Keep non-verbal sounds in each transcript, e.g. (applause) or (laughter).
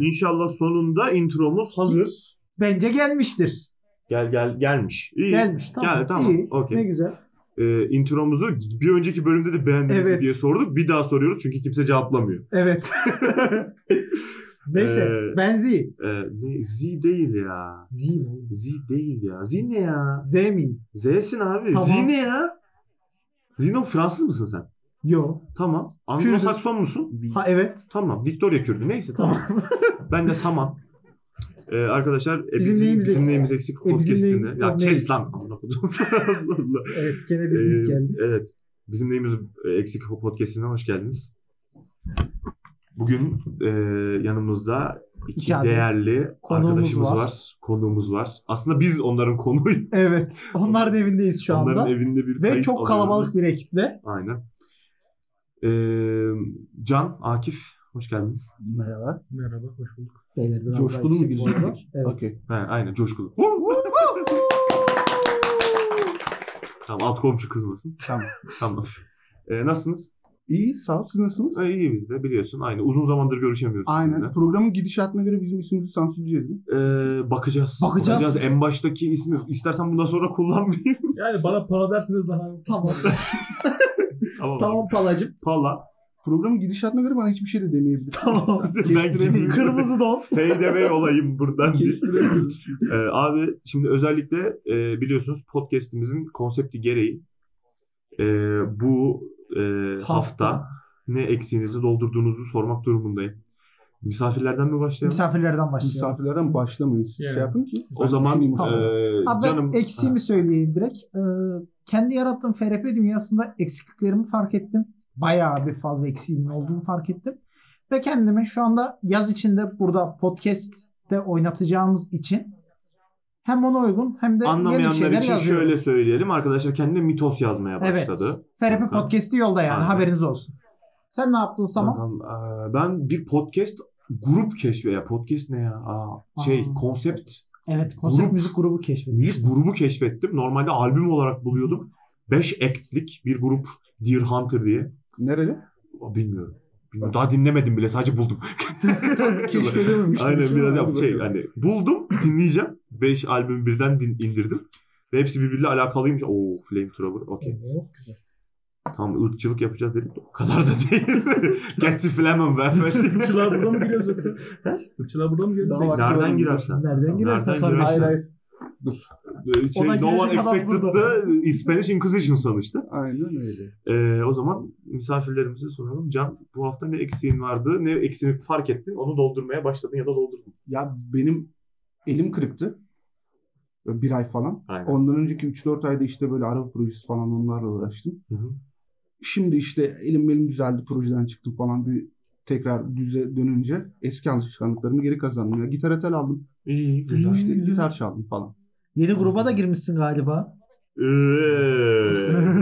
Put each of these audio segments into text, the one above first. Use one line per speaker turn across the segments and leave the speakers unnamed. İnşallah sonunda intromuz hazır.
Bence gelmiştir.
Gel gel gelmiş. İyi.
Gelmiş. Tamam.
Gel, tamam.
İyi.
Okey.
Ne güzel.
Ee, intromuzu bir önceki bölümde de beğendiniz mi
Evet.
diye sorduk. Bir daha soruyoruz çünkü kimse cevaplamıyor. (laughs)
Evet. Neyse.
Ee,
Benzi.
Ee, ne? Z değil ya.
Z mi?
Z değil ya. Z ne ya?
Z mi?
Z'sin abi.
Tamam.
Z ne ya? Zino Fransız mısın sen?
Yo.
Tamam. Anglo-Sakson musun?
Ha evet.
(laughs) Tamam. Victoria Kürdü. Neyse tamam.
Tamam.
Ben de Saman. Ee, arkadaşlar e,
Bizim
bizim,
neyimiz
bizim
eksik?
neyimiz eksik?
E, bizim
Podcast'inde.
neyimiz-
ya
o
kes
neyimiz?
lan. Amına kodum. Allah
(laughs)
Allah.
evet. Gene bir
Ee,
link geldi.
evet. Bizim neyimiz e, eksik podcast'ine hoş geldiniz. Bugün e, yanımızda iki
İki adet
değerli
konuğumuz
arkadaşımız var.
var.
konuğumuz var. Aslında biz onların konuğuyuz.
Evet. Onların evindeyiz şu anda.
Onların evinde bir
Ve
kayıt
çok kalabalık
alıyoruz.
bir ekiple.
Aynen. E, Can, Akif hoş geldiniz.
Merhaba.
Merhaba. Hoş bulduk. Beyler biraz
Coşkulu
daha
mu
yüksek bu
girecektik?
arada. Evet.
Okey. (laughs)
He, aynen coşkulu. tamam alt komşu kızmasın.
Tamam.
(laughs) Tamam. E, nasılsınız?
İyi. Sağ ol. Siz nasılsınız?
E, iyi biz de biliyorsun. Aynı uzun zamandır görüşemiyoruz
Aynen.
sizinle.
Programın gidişatına göre bizim ismimizi sansürleyeceğiz mi?
Ee, bakacağız.
Bakacağız.
En baştaki ismi istersen bundan sonra kullanmayayım.
Yani bana para dersiniz daha.
(laughs)
Tamam.
tamam.
(laughs) tamam palacım.
Pala.
Programın gidişatına göre bana hiçbir şey de demeyebilir.
Tamam.
ben gideyim.
Kırmızı don.
Fade olayım buradan bir.
Kestirebiliriz.
Ee, abi şimdi özellikle e, biliyorsunuz podcast'imizin konsepti gereği e, bu e, hafta. ne eksiğinizi doldurduğunuzu sormak durumundayım. Misafirlerden mi başlayalım?
Misafirlerden başlayalım.
Misafirlerden başlamayız.
Yani.
Şey yapın ki.
o zaman
Tamam.
e,
Abi ben
canım
eksiğimi söyleyeyim direkt. Ee, kendi yarattığım FRP dünyasında eksikliklerimi fark ettim. Bayağı bir fazla eksiğimin olduğunu fark ettim. Ve kendimi şu anda yaz içinde burada podcast'te oynatacağımız için hem ona uygun hem de yeni
anlamayanlar
şeyler
için
yazıyorum.
şöyle söyleyelim. Arkadaşlar kendine mitos yazmaya
Evet.
başladı.
FRP podcast'i yolda yani
Aynen.
haberiniz olsun. Sen ne yaptın Saman?
Bakalım, eee, ben bir podcast grup keşfe ya podcast ne ya? Aa, şey
Aa.
konsept
Evet konsept
Grup.
müzik grubu keşfettim.
bir grubu keşfettim. Normalde albüm olarak buluyordum. 5 act'lik bir grup Deer Hunter diye.
Nerede?
Aa, Bilmiyorum. Bilmiyorum. Daha dinlemedim bile sadece buldum.
Keşfedememiş.
Aynen biraz yap şey hani buldum dinleyeceğim. 5 albüm birden din- indirdim. Ve hepsi birbiriyle alakalıymış. Oo Flamethrower okey. Tamam ırkçılık yapacağız dedik. de O kadar da değil. (laughs) Getsi Flamethrower.
Irkçılar burada mı giriyor zaten? Irkçılar burada mı giriyor?
Daha var.
Nereden girersen.
Nereden girersen
Nereden
tabii.
Hayır
girersen.
hayır. Dur.
Ee, şey,
Ona
no one
girecek adam
expected
burada.
the Spanish Inquisition sonuçta.
Aynen öyle.
Ee, o zaman misafirlerimize soralım. Can bu hafta ne eksiğin vardı, ne eksiğini fark ettin, onu doldurmaya başladın ya da doldurdun.
Ya benim elim kırıktı. Böyle Bir ay falan.
Aynen.
Ondan önceki 3-4 ayda işte böyle araba projesi falan onlarla uğraştım.
Hı hı.
Şimdi işte elim benim düzeldi projeden çıktım falan bir tekrar düze dönünce eski alışkanlıklarımı geri kazandım. Ya gitar tel aldım.
İyi, güzel.
İşte gitar çaldım falan.
Yeni gruba da girmişsin galiba.
Eee,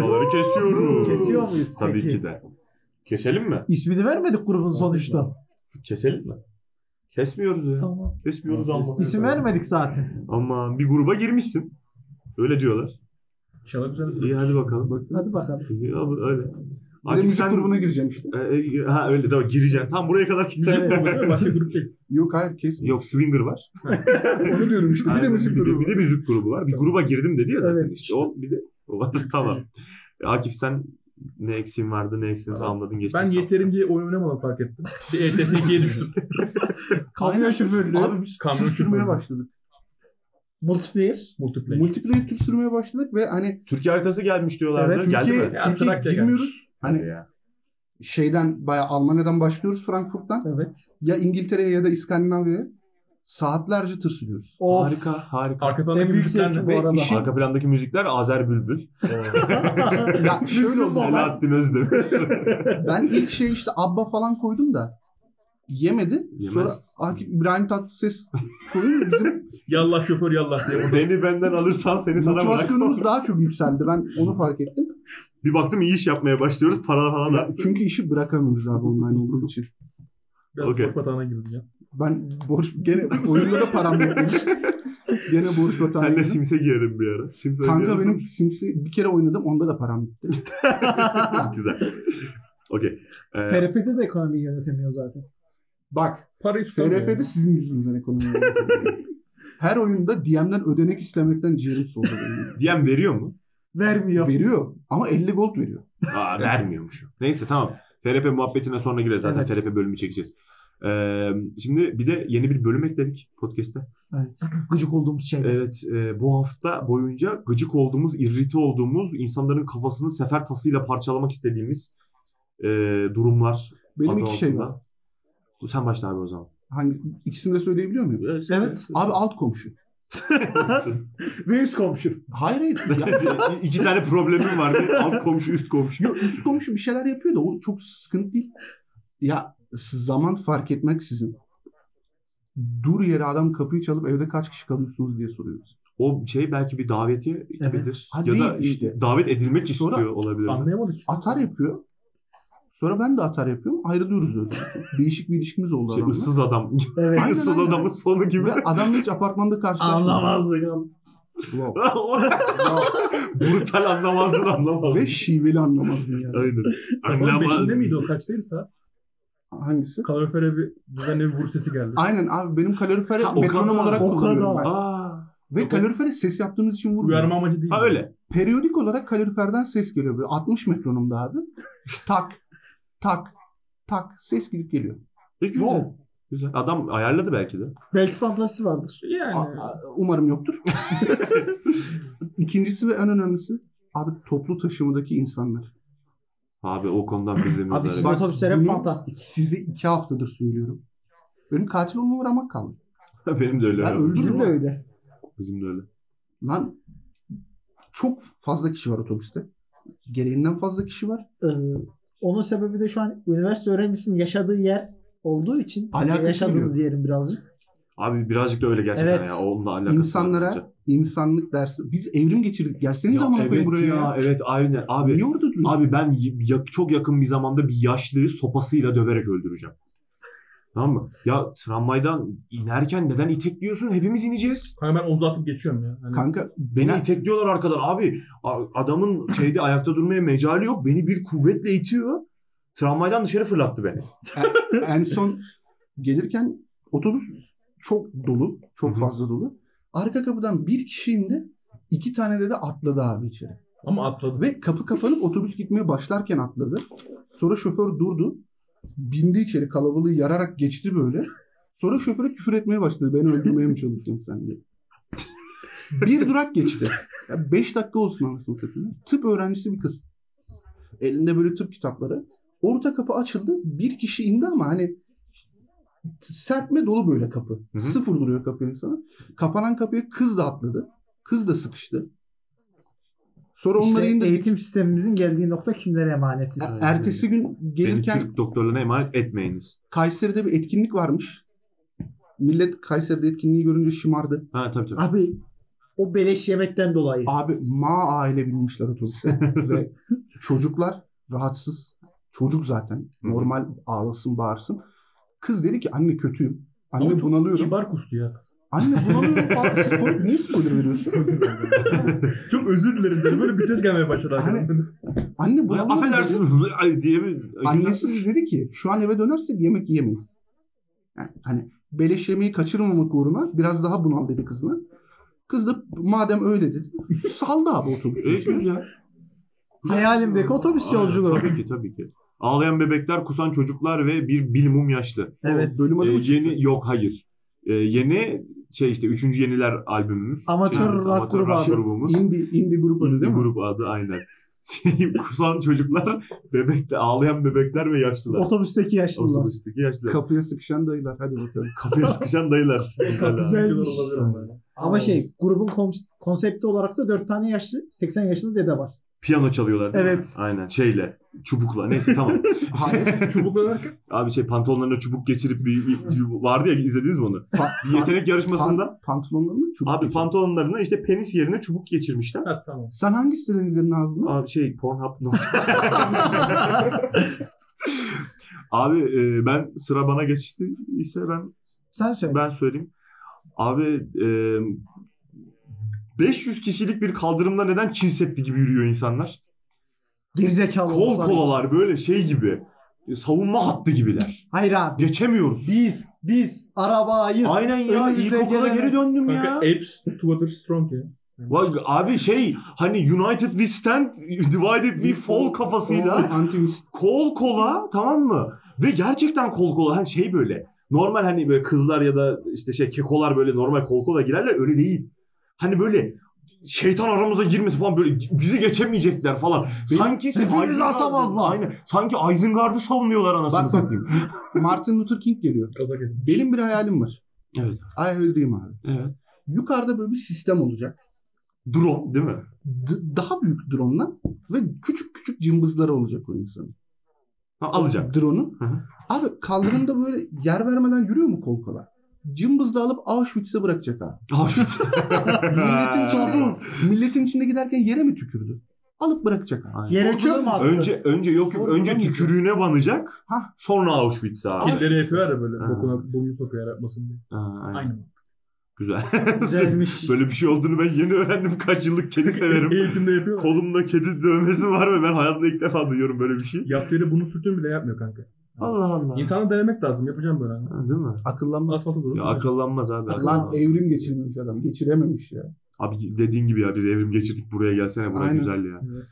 doları Ee, kesiyoruz.
Kesiyor muyuz
Tabii
peki?
ki de. Keselim mi?
İsmini vermedik grubun sonuçta.
Keselim mi? Kesmiyoruz ya.
Tamam.
Kesmiyoruz ama.
İsim vermedik zaten.
Ama bir gruba girmişsin. Öyle diyorlar.
Çalabilirsiniz.
İyi hadi bakalım. Bak. (laughs)
Hadi bakalım.
İyi, abi, öyle.
Bir de
Akif
müzik
sen-
grubuna gireceğim işte.
E, e, ha öyle de gireceğim. Tam buraya kadar kilitledim.
Başka grup değil.
Yok hayır kes.
(laughs) Yok swinger var.
Onu diyorum işte. Bir de
Aynen,
müzik grubu.
bir de müzik grubu var. Bir gruba girdim dedi ya zaten
Evet.
işte. O bir de o var. (laughs) tamam. E, Akif sen ne eksiğin vardı ne eksiğini
Tamam.
tamamladın geçtin.
Ben
sen.
yeterince oyun oynamadım fark ettim. Bir E ETS2'ye düştüm.
Kamyon şoförlüğü.
Abi biz
Kamyon
tür sürmeye
şoförü.
başladık.
Multiplayer.
Multiplayer.
Multiplayer tür sürmeye başladık ve hani
Türkiye haritası gelmiş diyorlardı.
Evet,
Geldi
Türkiye,
mi?
Ya,
Türkiye
Trakya
girmiyoruz. Hani
ya.
şeyden bayağı Almanya'dan başlıyoruz Frankfurt'tan.
Evet.
Ya İngiltere'ye ya da İskandinavya'ya saatlerce tır
(laughs)
sürüyoruz.
O
Harika harika.
Arka planda
en büyük
müzikler
zevki
ne?
bu
Ve
arada.
işin-
Arka plandaki müzikler Azer Bülbül. (laughs)
Ya şöyle oldu. Ben-
Selahattin
(laughs)
Özdemir.
Ben ilk şey işte Abba falan koydum da yemedi.
Yemez.
Sonra Akif İbrahim Tatlıses koyunca bizim
(laughs) Yallah şoför yallah diye.
Beni benden alırsan seni sana bırakmam.
motivasyonumuz daha çok yükseldi. Ben onu fark ettim.
Bir baktım iyi iş yapmaya başlıyoruz. Para falan da.
Çünkü işi bırakamıyoruz abi online olduğu için.
Biraz
Okey.
okay. patağına girdim ya.
Ben borç gene oyunda da param yokmuş. gene borç
Senle
vatandaşıyım.
simse giyerim bir ara. Simse
Kanka
oynayalım.
benim Sims'i bir kere oynadım onda da param bitti.
(laughs) Güzel. Ee, Okey. Ee,
PRP'de de ekonomiyi yönetemiyor zaten.
Bak
Para hiç
FRP'de sizin yüzünüzden ekonomi oldu. Her oyunda DM'den ödenek istemekten ciğerim soğudu. benim.
DM veriyor mu?
Vermiyor.
Veriyor ama 50 gold veriyor.
Aa vermiyormuş. Neyse tamam. FRP muhabbetine sonra gireriz zaten.
Evet.
FRP bölümü çekeceğiz. Ee, şimdi bir de yeni bir bölüm ekledik podcast'te.
Evet. Gıcık olduğumuz şey. şeyler.
Evet e, bu hafta boyunca gıcık olduğumuz, irrite olduğumuz, insanların kafasını sefer tasıyla parçalamak istediğimiz e, durumlar.
Benim
adı
iki şey var.
altında. Sen başla abi o zaman. (laughs)
Hangi, ikisini de söyleyebiliyor muyum?
Evet.
Abi alt komşu.
Ve üst komşu.
Hayır hayır. (laughs) Ya,
Ya, iki tane problemim var. Bir Alt komşu, üst komşu.
Yok üst komşu bir şeyler yapıyor da o çok sıkıntı değil. Ya zaman fark etmeksizin dur yere adam kapıyı çalıp evde kaç kişi kalıyorsunuz diye soruyoruz.
O şey belki bir davetiye gibidir.
Ha,
Ya
değil
da
işte.
davet edilmek istiyor
Sonra
olabilir.
Anlayamadık.
Atar yapıyor. Sonra ben de atar yapıyorum. Ayrılıyoruz öyle. Değişik bir ilişkimiz oldu
Şey,
adamla.
ıssız adam.
Evet.
Aynen,
ıssız
aynen.
adamın sonu gibi.
Ve adamla hiç apartmanda karşılaşmadım.
Anlamazdık.
Wow.
(laughs) O- Brutal anlamazdın anlamazdın.
Ve şiveli anlamazdın
(laughs)
yani.
Aynen.
Sabahın
Anlamazdın.
beşinde miydi o? Kaçtaydı saat?
Hangisi?
Kalorifere bir düzenli bir vuruş sesi geldi.
Aynen abi benim kaloriferi
Ha, o
metronom
kadar,
olarak
o
kullanıyorum
kadar.
ben.
Aa.
Ve kalorifere ses yaptığımız için vurmuyor.
Uyarma amacı değil.
Ha öyle.
Periyodik olarak kaloriferden ses geliyor böyle 60 metronomda abi. tak tak tak ses gidip geliyor.
Peki E, güzel.
Wow.
Güzel. Adam ayarladı belki de.
Belki fantazisi vardır.
Yani.
A- a- umarım yoktur. (laughs) İkincisi ve en önemlisi abi toplu taşımadaki insanlar.
Abi o konudan biz de
Abi
müdahale
sizin
bak,
otobüsler hep
bunu-
fantastik.
Size iki haftadır söylüyorum. Benim katil olma ramak kaldı.
(laughs) Benim de öyle.
Ben
oldu.
öldüm.
Bizim de öyle.
Bizim de öyle.
Lan çok fazla kişi var otobüste. Gereğinden fazla kişi var.
Ee, onun sebebi de şu an üniversite öğrencisinin yaşadığı yer olduğu için
Alakası
yaşadığımız yerin birazcık.
Abi birazcık da öyle gerçekten
Evet.
ya. Onunla alakası var bence.
İnsanlara insanlık dersi. Biz evrim geçirdik. Gelseniz
Ya
zaman
evet
buraya.
ya,
ya.
evet aynen. Abi
Niye orada duruyorsun?
abi ben y- ya- çok yakın bir zamanda bir yaşlıyı sopasıyla döverek öldüreceğim. Tamam mı? Ya tramvaydan inerken neden itekliyorsun? Hepimiz ineceğiz.
Kanka ben omzu atıp geçiyorum ya. Hani
Kanka
Beni
beni
itekliyorlar arkadan. Abi a- adamın şeyde ayakta durmaya mecali yok. Beni bir kuvvetle itiyor. Tramvaydan dışarı fırlattı beni.
en son gelirken otobüs çok dolu. Çok
Hı hı.
fazla dolu. Arka kapıdan bir kişi indi. iki tane de de atladı abi içeri.
Ama atladı.
Ve kapı kapanıp otobüs gitmeye başlarken atladı. Sonra şoför durdu. Bindi içeri kalabalığı yararak geçti böyle. Sonra şoföre küfür etmeye başladı. Beni öldürmeye mi çalıştın sen diye. Bir durak geçti. Ya beş dakika olsun anasını satayım. Tıp öğrencisi bir kız. Elinde böyle tıp kitapları. Orta kapı açıldı. Bir kişi indi ama hani sertme dolu böyle kapı.
Hı hı.
Sıfır duruyor kapı insana. Kapanan kapıya kız da atladı. Kız da sıkıştı. Sonra onları
İşte
indirdik.
eğitim sistemimizin geldiği nokta kimlere emanetiz.
Er-
Aynen
Ertesi gün
Beni
gelirken
Türk doktorlarına emanet etmeyiniz.
Kayseri'de bir etkinlik varmış. Millet Kayseri'de etkinliği görünce şımardı.
Ha tabii tabii.
Abi o beleş yemekten dolayı.
Abi ma aile binmişler otobüse. Ve çocuklar rahatsız. Çocuk zaten.
Hı hı.
Normal ağlasın bağırsın. Kız dedi ki anne kötüyüm.
Ama
Anne
çok
bunalıyorum.
Kibar kustu ya.
Anne bunalıyorum falan. Spoiler- niye spoiler veriyorsun?
Çok özür dilerim dedi. Böyle bir ses gelmeye başladı arkadan. Hani
Anne
Ay,
bunalıyorum. dedi.
Affedersiniz (laughs) ay diye bir
Annesi de dedi ki şu an eve dönersek yemek yemeyiz. Yani hani beleş yemeği kaçırmamak uğruna biraz daha bunal dedi kızına. Kız da madem öyle dedi saldı abi
E,
otobüsü.
güzel.
Hayalimdeki otobüs
Aynen,
yolculuğu.
Tabii ki tabii ki. Ağlayan bebekler, kusan çocuklar ve bir bilmum yaşlı.
Evet.
Bölüm adı
Ee,
mı
yeni
çıktı?
yok hayır. Ee, yeni şey işte 3. Yeniler albümümüz.
Amatör
Şeyimiz,
rock grubu abi.
grubumuz.
indie, indie grup adı
Indie
değil mi?
grup adı aynen. Şey, kusan çocuklar, bebekte ağlayan bebekler ve yaşlılar.
Oh,
Otobüsteki yaşlılar.
Otobüsteki yaşlılar.
Kapıya sıkışan dayılar hadi
(laughs)
bakalım.
Kapıya sıkışan
(laughs)
dayılar. Mesela.
Güzelmiş.
Olabilir ama yani.
Ama
(laughs)
şey grubun kom- konsepti olarak da 4 tane yaşlı 80 yaşında dede var.
Piyano çalıyorlar değil mi?
Evet.
Aynen şeyle, çubukla. Neyse
(laughs)
tamam.
Hayır.
Çubukla derken
Abi şey pantolonlarına çubuk geçirip bir, bir- vardı ya izlediniz mi onu?
Pa-
Bir yetenek yarışmasında
pan- pantolonları mı? Çubuk
Abi
mu?
pantolonlarına işte penis yerine çubuk geçirmişler.
ha, tamam.
Sen hangi siteden izledin abi bunu?
Abi şey Pornhub.
(laughs)
Abi e, ben sıra bana geçti ise ben
Sen söyle.
ben söyleyeyim. Abi e, 500 kişilik bir kaldırımda neden Çin Seddi gibi yürüyor insanlar?
Gerizekalı
Kol
olsalar.
kolalar böyle şey gibi. savunma hattı gibiler.
Hayır abi.
Geçemiyoruz.
Biz, biz arabayız.
Aynen ya
Önümüze
ilkokula
gelen-
geri döndüm ya.
Kanka e- apes to water strong ya.
Vay, abi şey hani United we stand, divided we fall kafasıyla
Anti
kol kola tamam mı? Ve gerçekten kol kola hani şey böyle. Normal hani böyle kızlar ya da işte şey kekolar böyle normal kol kola girerler öyle değil. Hani böyle şeytan aramıza girmesi falan böyle bizi geçemeyecekler falan. Sanki şey,
hepimizi
Isengard'ı-
asamazlar.
Aynen. Sanki Isengard'ı savunuyorlar anasını
Bak, bak.
satayım.
Martin Luther King geliyor.
Kazak edin.
Benim bir hayalim var.
Evet.
I have a dream abi.
Evet.
Yukarıda böyle bir sistem olacak.
Drone değil mi?
D- daha büyük drone'la ve küçük küçük cımbızları olacak o insanın.
Ha, alacak.
Drone'un.
Hı hı.
Abi kaldırımda böyle yer vermeden yürüyor mu kol kola? Cımbızla alıp Auschwitz'e bırakacak abi. (laughs) Milletin topu.
(laughs)
Milletin içinde giderken yere mi tükürdü? Alıp bırakacak abi.
Aynen.
Yere çöp mü attı?
Önce önce yok yok
Sonra
önce
bulamayacak.
tükürüğüne banacak.
Hah.
Sonra Auschwitz'e abi.
Killeri yapıyor ya böyle.
Ha.
Bokuna boyun sokuyor yaratmasın diye.
Ha, aynen.
Aynen.
Güzel.
Güzelmiş.
Böyle bir şey olduğunu ben yeni öğrendim. Kaç yıllık kedi (laughs) severim.
Eğitimde yapıyor.
Kolumda kedi dövmesi var ve ben hayatımda ilk defa duyuyorum böyle bir şey.
Yaptığıyla bunu sürtün bile yapmıyor kanka.
Allah Allah.
İnsanı denemek lazım. Yapacağım böyle. hani.
Ha, Değil mi?
Akıllanma.
Asfalta durur.
Ya akıllanmaz abi.
Lan
akıllanmaz.
evrim geçirmemiş adam. Geçirememiş ya.
Abi dediğin gibi ya biz evrim geçirdik buraya gelsene buraya
Aynen.
güzel ya.
Evet.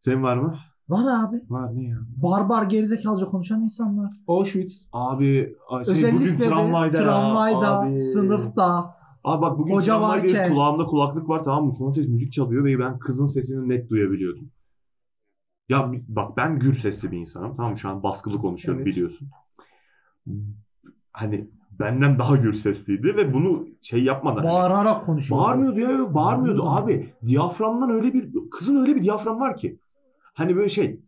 Senin var mı?
Var abi.
Var ne ya?
Barbar gerizekalıca konuşan insanlar.
Auschwitz.
Abi ay şey,
Özellikle
bugün
de
tramvayda, ya,
tramvayda,
abi.
sınıfta.
Abi bak bugün
Hoca
tramvayda
varken-
kulağımda kulaklık var tamam mı? Son ses müzik çalıyor ve ben kızın sesini net duyabiliyordum. Ya bi- bak ben gür sesli bir insanım tamam mı? Şu an baskılı konuşuyorum
Evet.
biliyorsun. Hani benden daha gür sesliydi ve bunu şey yapmadan...
Bağırarak konuşuyor.
Bağırmıyordu ya, yok, bağırmıyordu abi. Diyaframdan öyle bir kızın öyle bir diyafram var ki. Hani böyle şey.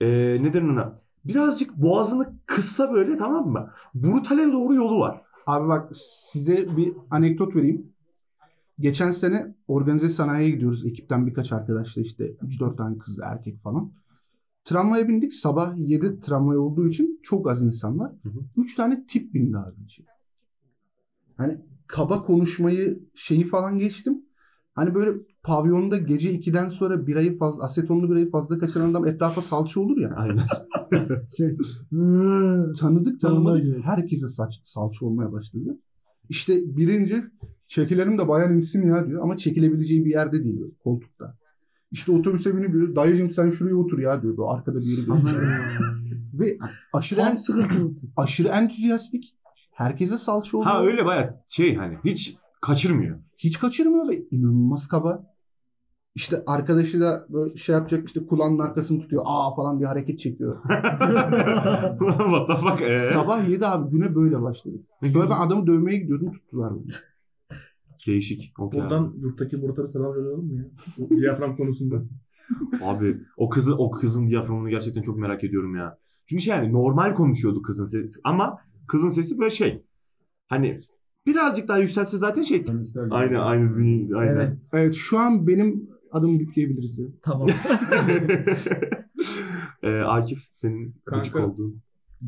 E, neden ona? Birazcık boğazını kıssa böyle tamam mı? Brutale doğru yolu var.
Abi bak size bir anekdot vereyim. Geçen sene organize sanayiye gidiyoruz. Ekipten birkaç arkadaşla işte 3-4 tane kız erkek falan. Tramvaya bindik. Sabah 7 tramvay olduğu için çok az insan var.
Hı hı.
3 tane tip bindi abi içeri. Hani kaba konuşmayı şeyi falan geçtim. Hani böyle pavyonda gece 2'den sonra birayı fazla, asetonlu birayı fazla kaçıran adam etrafa salça olur ya.
Aynen.
Hı.
tanıdık tanımadık
Tanımadı.
herkese saç, salça olmaya başladı. İşte birinci çekilelim de bayan insin ya diyor ama çekilebileceği bir yerde değil böyle, koltukta. İşte otobüse biniyor. Dayıcım sen şuraya otur ya diyor. Böyle arkada bir yeri gösteriyor. Ve aşırı, en,
Tam sıkıntı.
aşırı entüziyastik. Herkese salça oluyor.
ha öyle baya şey hani hiç
(laughs)
kaçırmıyor.
Hiç kaçırmıyor ve inanılmaz kaba. İşte arkadaşı da böyle şey yapacak işte kulağının arkasını tutuyor. Aa falan bir hareket çekiyor.
What the fuck? ee?
Sabah 7 abi güne böyle başladı.
Ne
Böyle
güzel.
ben adamı dövmeye gidiyordum tuttular beni.
Değişik. Okey abi.
Buradan yurttaki Murat'a selam verelim mi ya? Bu Diyafram konusunda.
Abi o kızı o kızın diyaframını gerçekten çok merak ediyorum ya. Çünkü şey yani normal konuşuyordu kızın sesi ama kızın sesi böyle şey. Hani birazcık daha yükselse zaten şey. Aynen aynen aynen.
Evet şu an benim adımı yükleyebiliriz ya.
(laughs)
Tamam.
Ee, Akif senin
Kanka.
gıcık olduğun.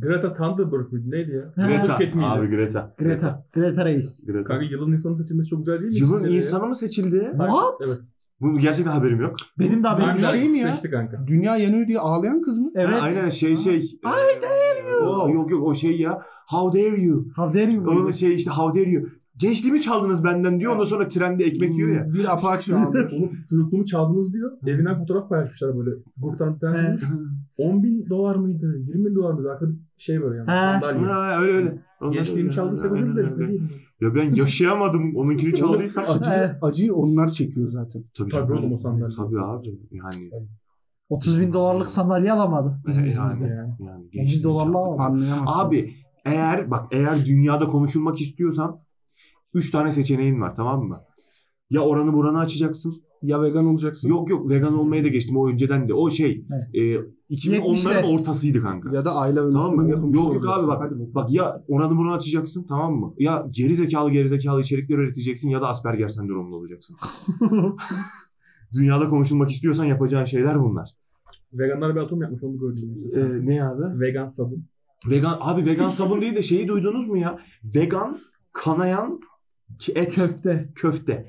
Greta Thunberg miydi? Neydi ya?
Ha.
Greta.
Rocket miydi?
Abi Greta.
Greta. Greta Reis.
Greta.
Kanka yılın insanı seçilmesi çok güzel değil mi?
Yılın
Sizce de ya?
insanı mı seçildi?
Hayır,
What?
Evet.
Bunu gerçekten haberim yok.
Benim de haberim
Ben-
yok.
Kanka
şey mi ya?
Seçti kanka.
Dünya yanıyor diye ağlayan kız mı?
Ha,
Evet.
aynen şey şey.
Ay,
dare you. Yok yok o şey ya. How dare you?
How dare you?
Onun şey işte how dare you. Gençliğimi çaldınız benden diyor. Ondan sonra trende ekmek yiyor ya.
Bir apaçı (laughs) ağlıyor.
Oğlum çocukluğumu çaldınız diyor. Evinden fotoğraf paylaşmışlar böyle. Gruptan bir tane.
Evet.
bulmuş. 10 bin dolar mıydı? 20 bin dolar mıydı? Arkada bir şey böyle yani.
Ha.
Sandalye.
Ha, öyle öyle. Ondan
Gençliğimi
sonra-
çaldıysa
Aynen,
ölür de işte
aynen.
değil mi?
Ya ben yaşayamadım onunkini çaldıysam.
Acıyı, acıyı onlar çekiyor zaten.
tabii,
Tabii oğlum o sandalye.
Tabii abi. Yani,
30 bin dolarlık sandalye alamadı. Bizim
yani,
yüzümüzden.
yani.
yani
Genci dolarla
çaldım.
alamadı.
Anlayamazsın.
Abi eğer bak eğer dünyada konuşulmak istiyorsan 3 tane seçeneğin var tamam mı? Ya oranı buranı açacaksın.
Ya vegan olacaksın.
Yok yok vegan olmaya da geçtim o önceden de. O şey
Evet.
e, 2010'ların
70'ler.
ortasıydı kanka.
Ya da aile ve
Tamam mı?
Müslüman yapımcısı
Yok, yok abi
olacaksın.
bak.
şey Hadi bakalım.
Bak ya oranı bunu açacaksın tamam mı? Ya geri zekalı geri zekalı içerikler üreteceksin ya da Asperger sendromlu olacaksın. Dünyada konuşulmak istiyorsan yapacağın şeyler bunlar.
Veganlar bir atom yapmış onu gördüm.
Ee, ne abi?
Vegan sabun.
Vegan abi vegan sabun değil de şeyi duydunuz mu ya? Vegan kanayan ki- et
Köfte.
köfte.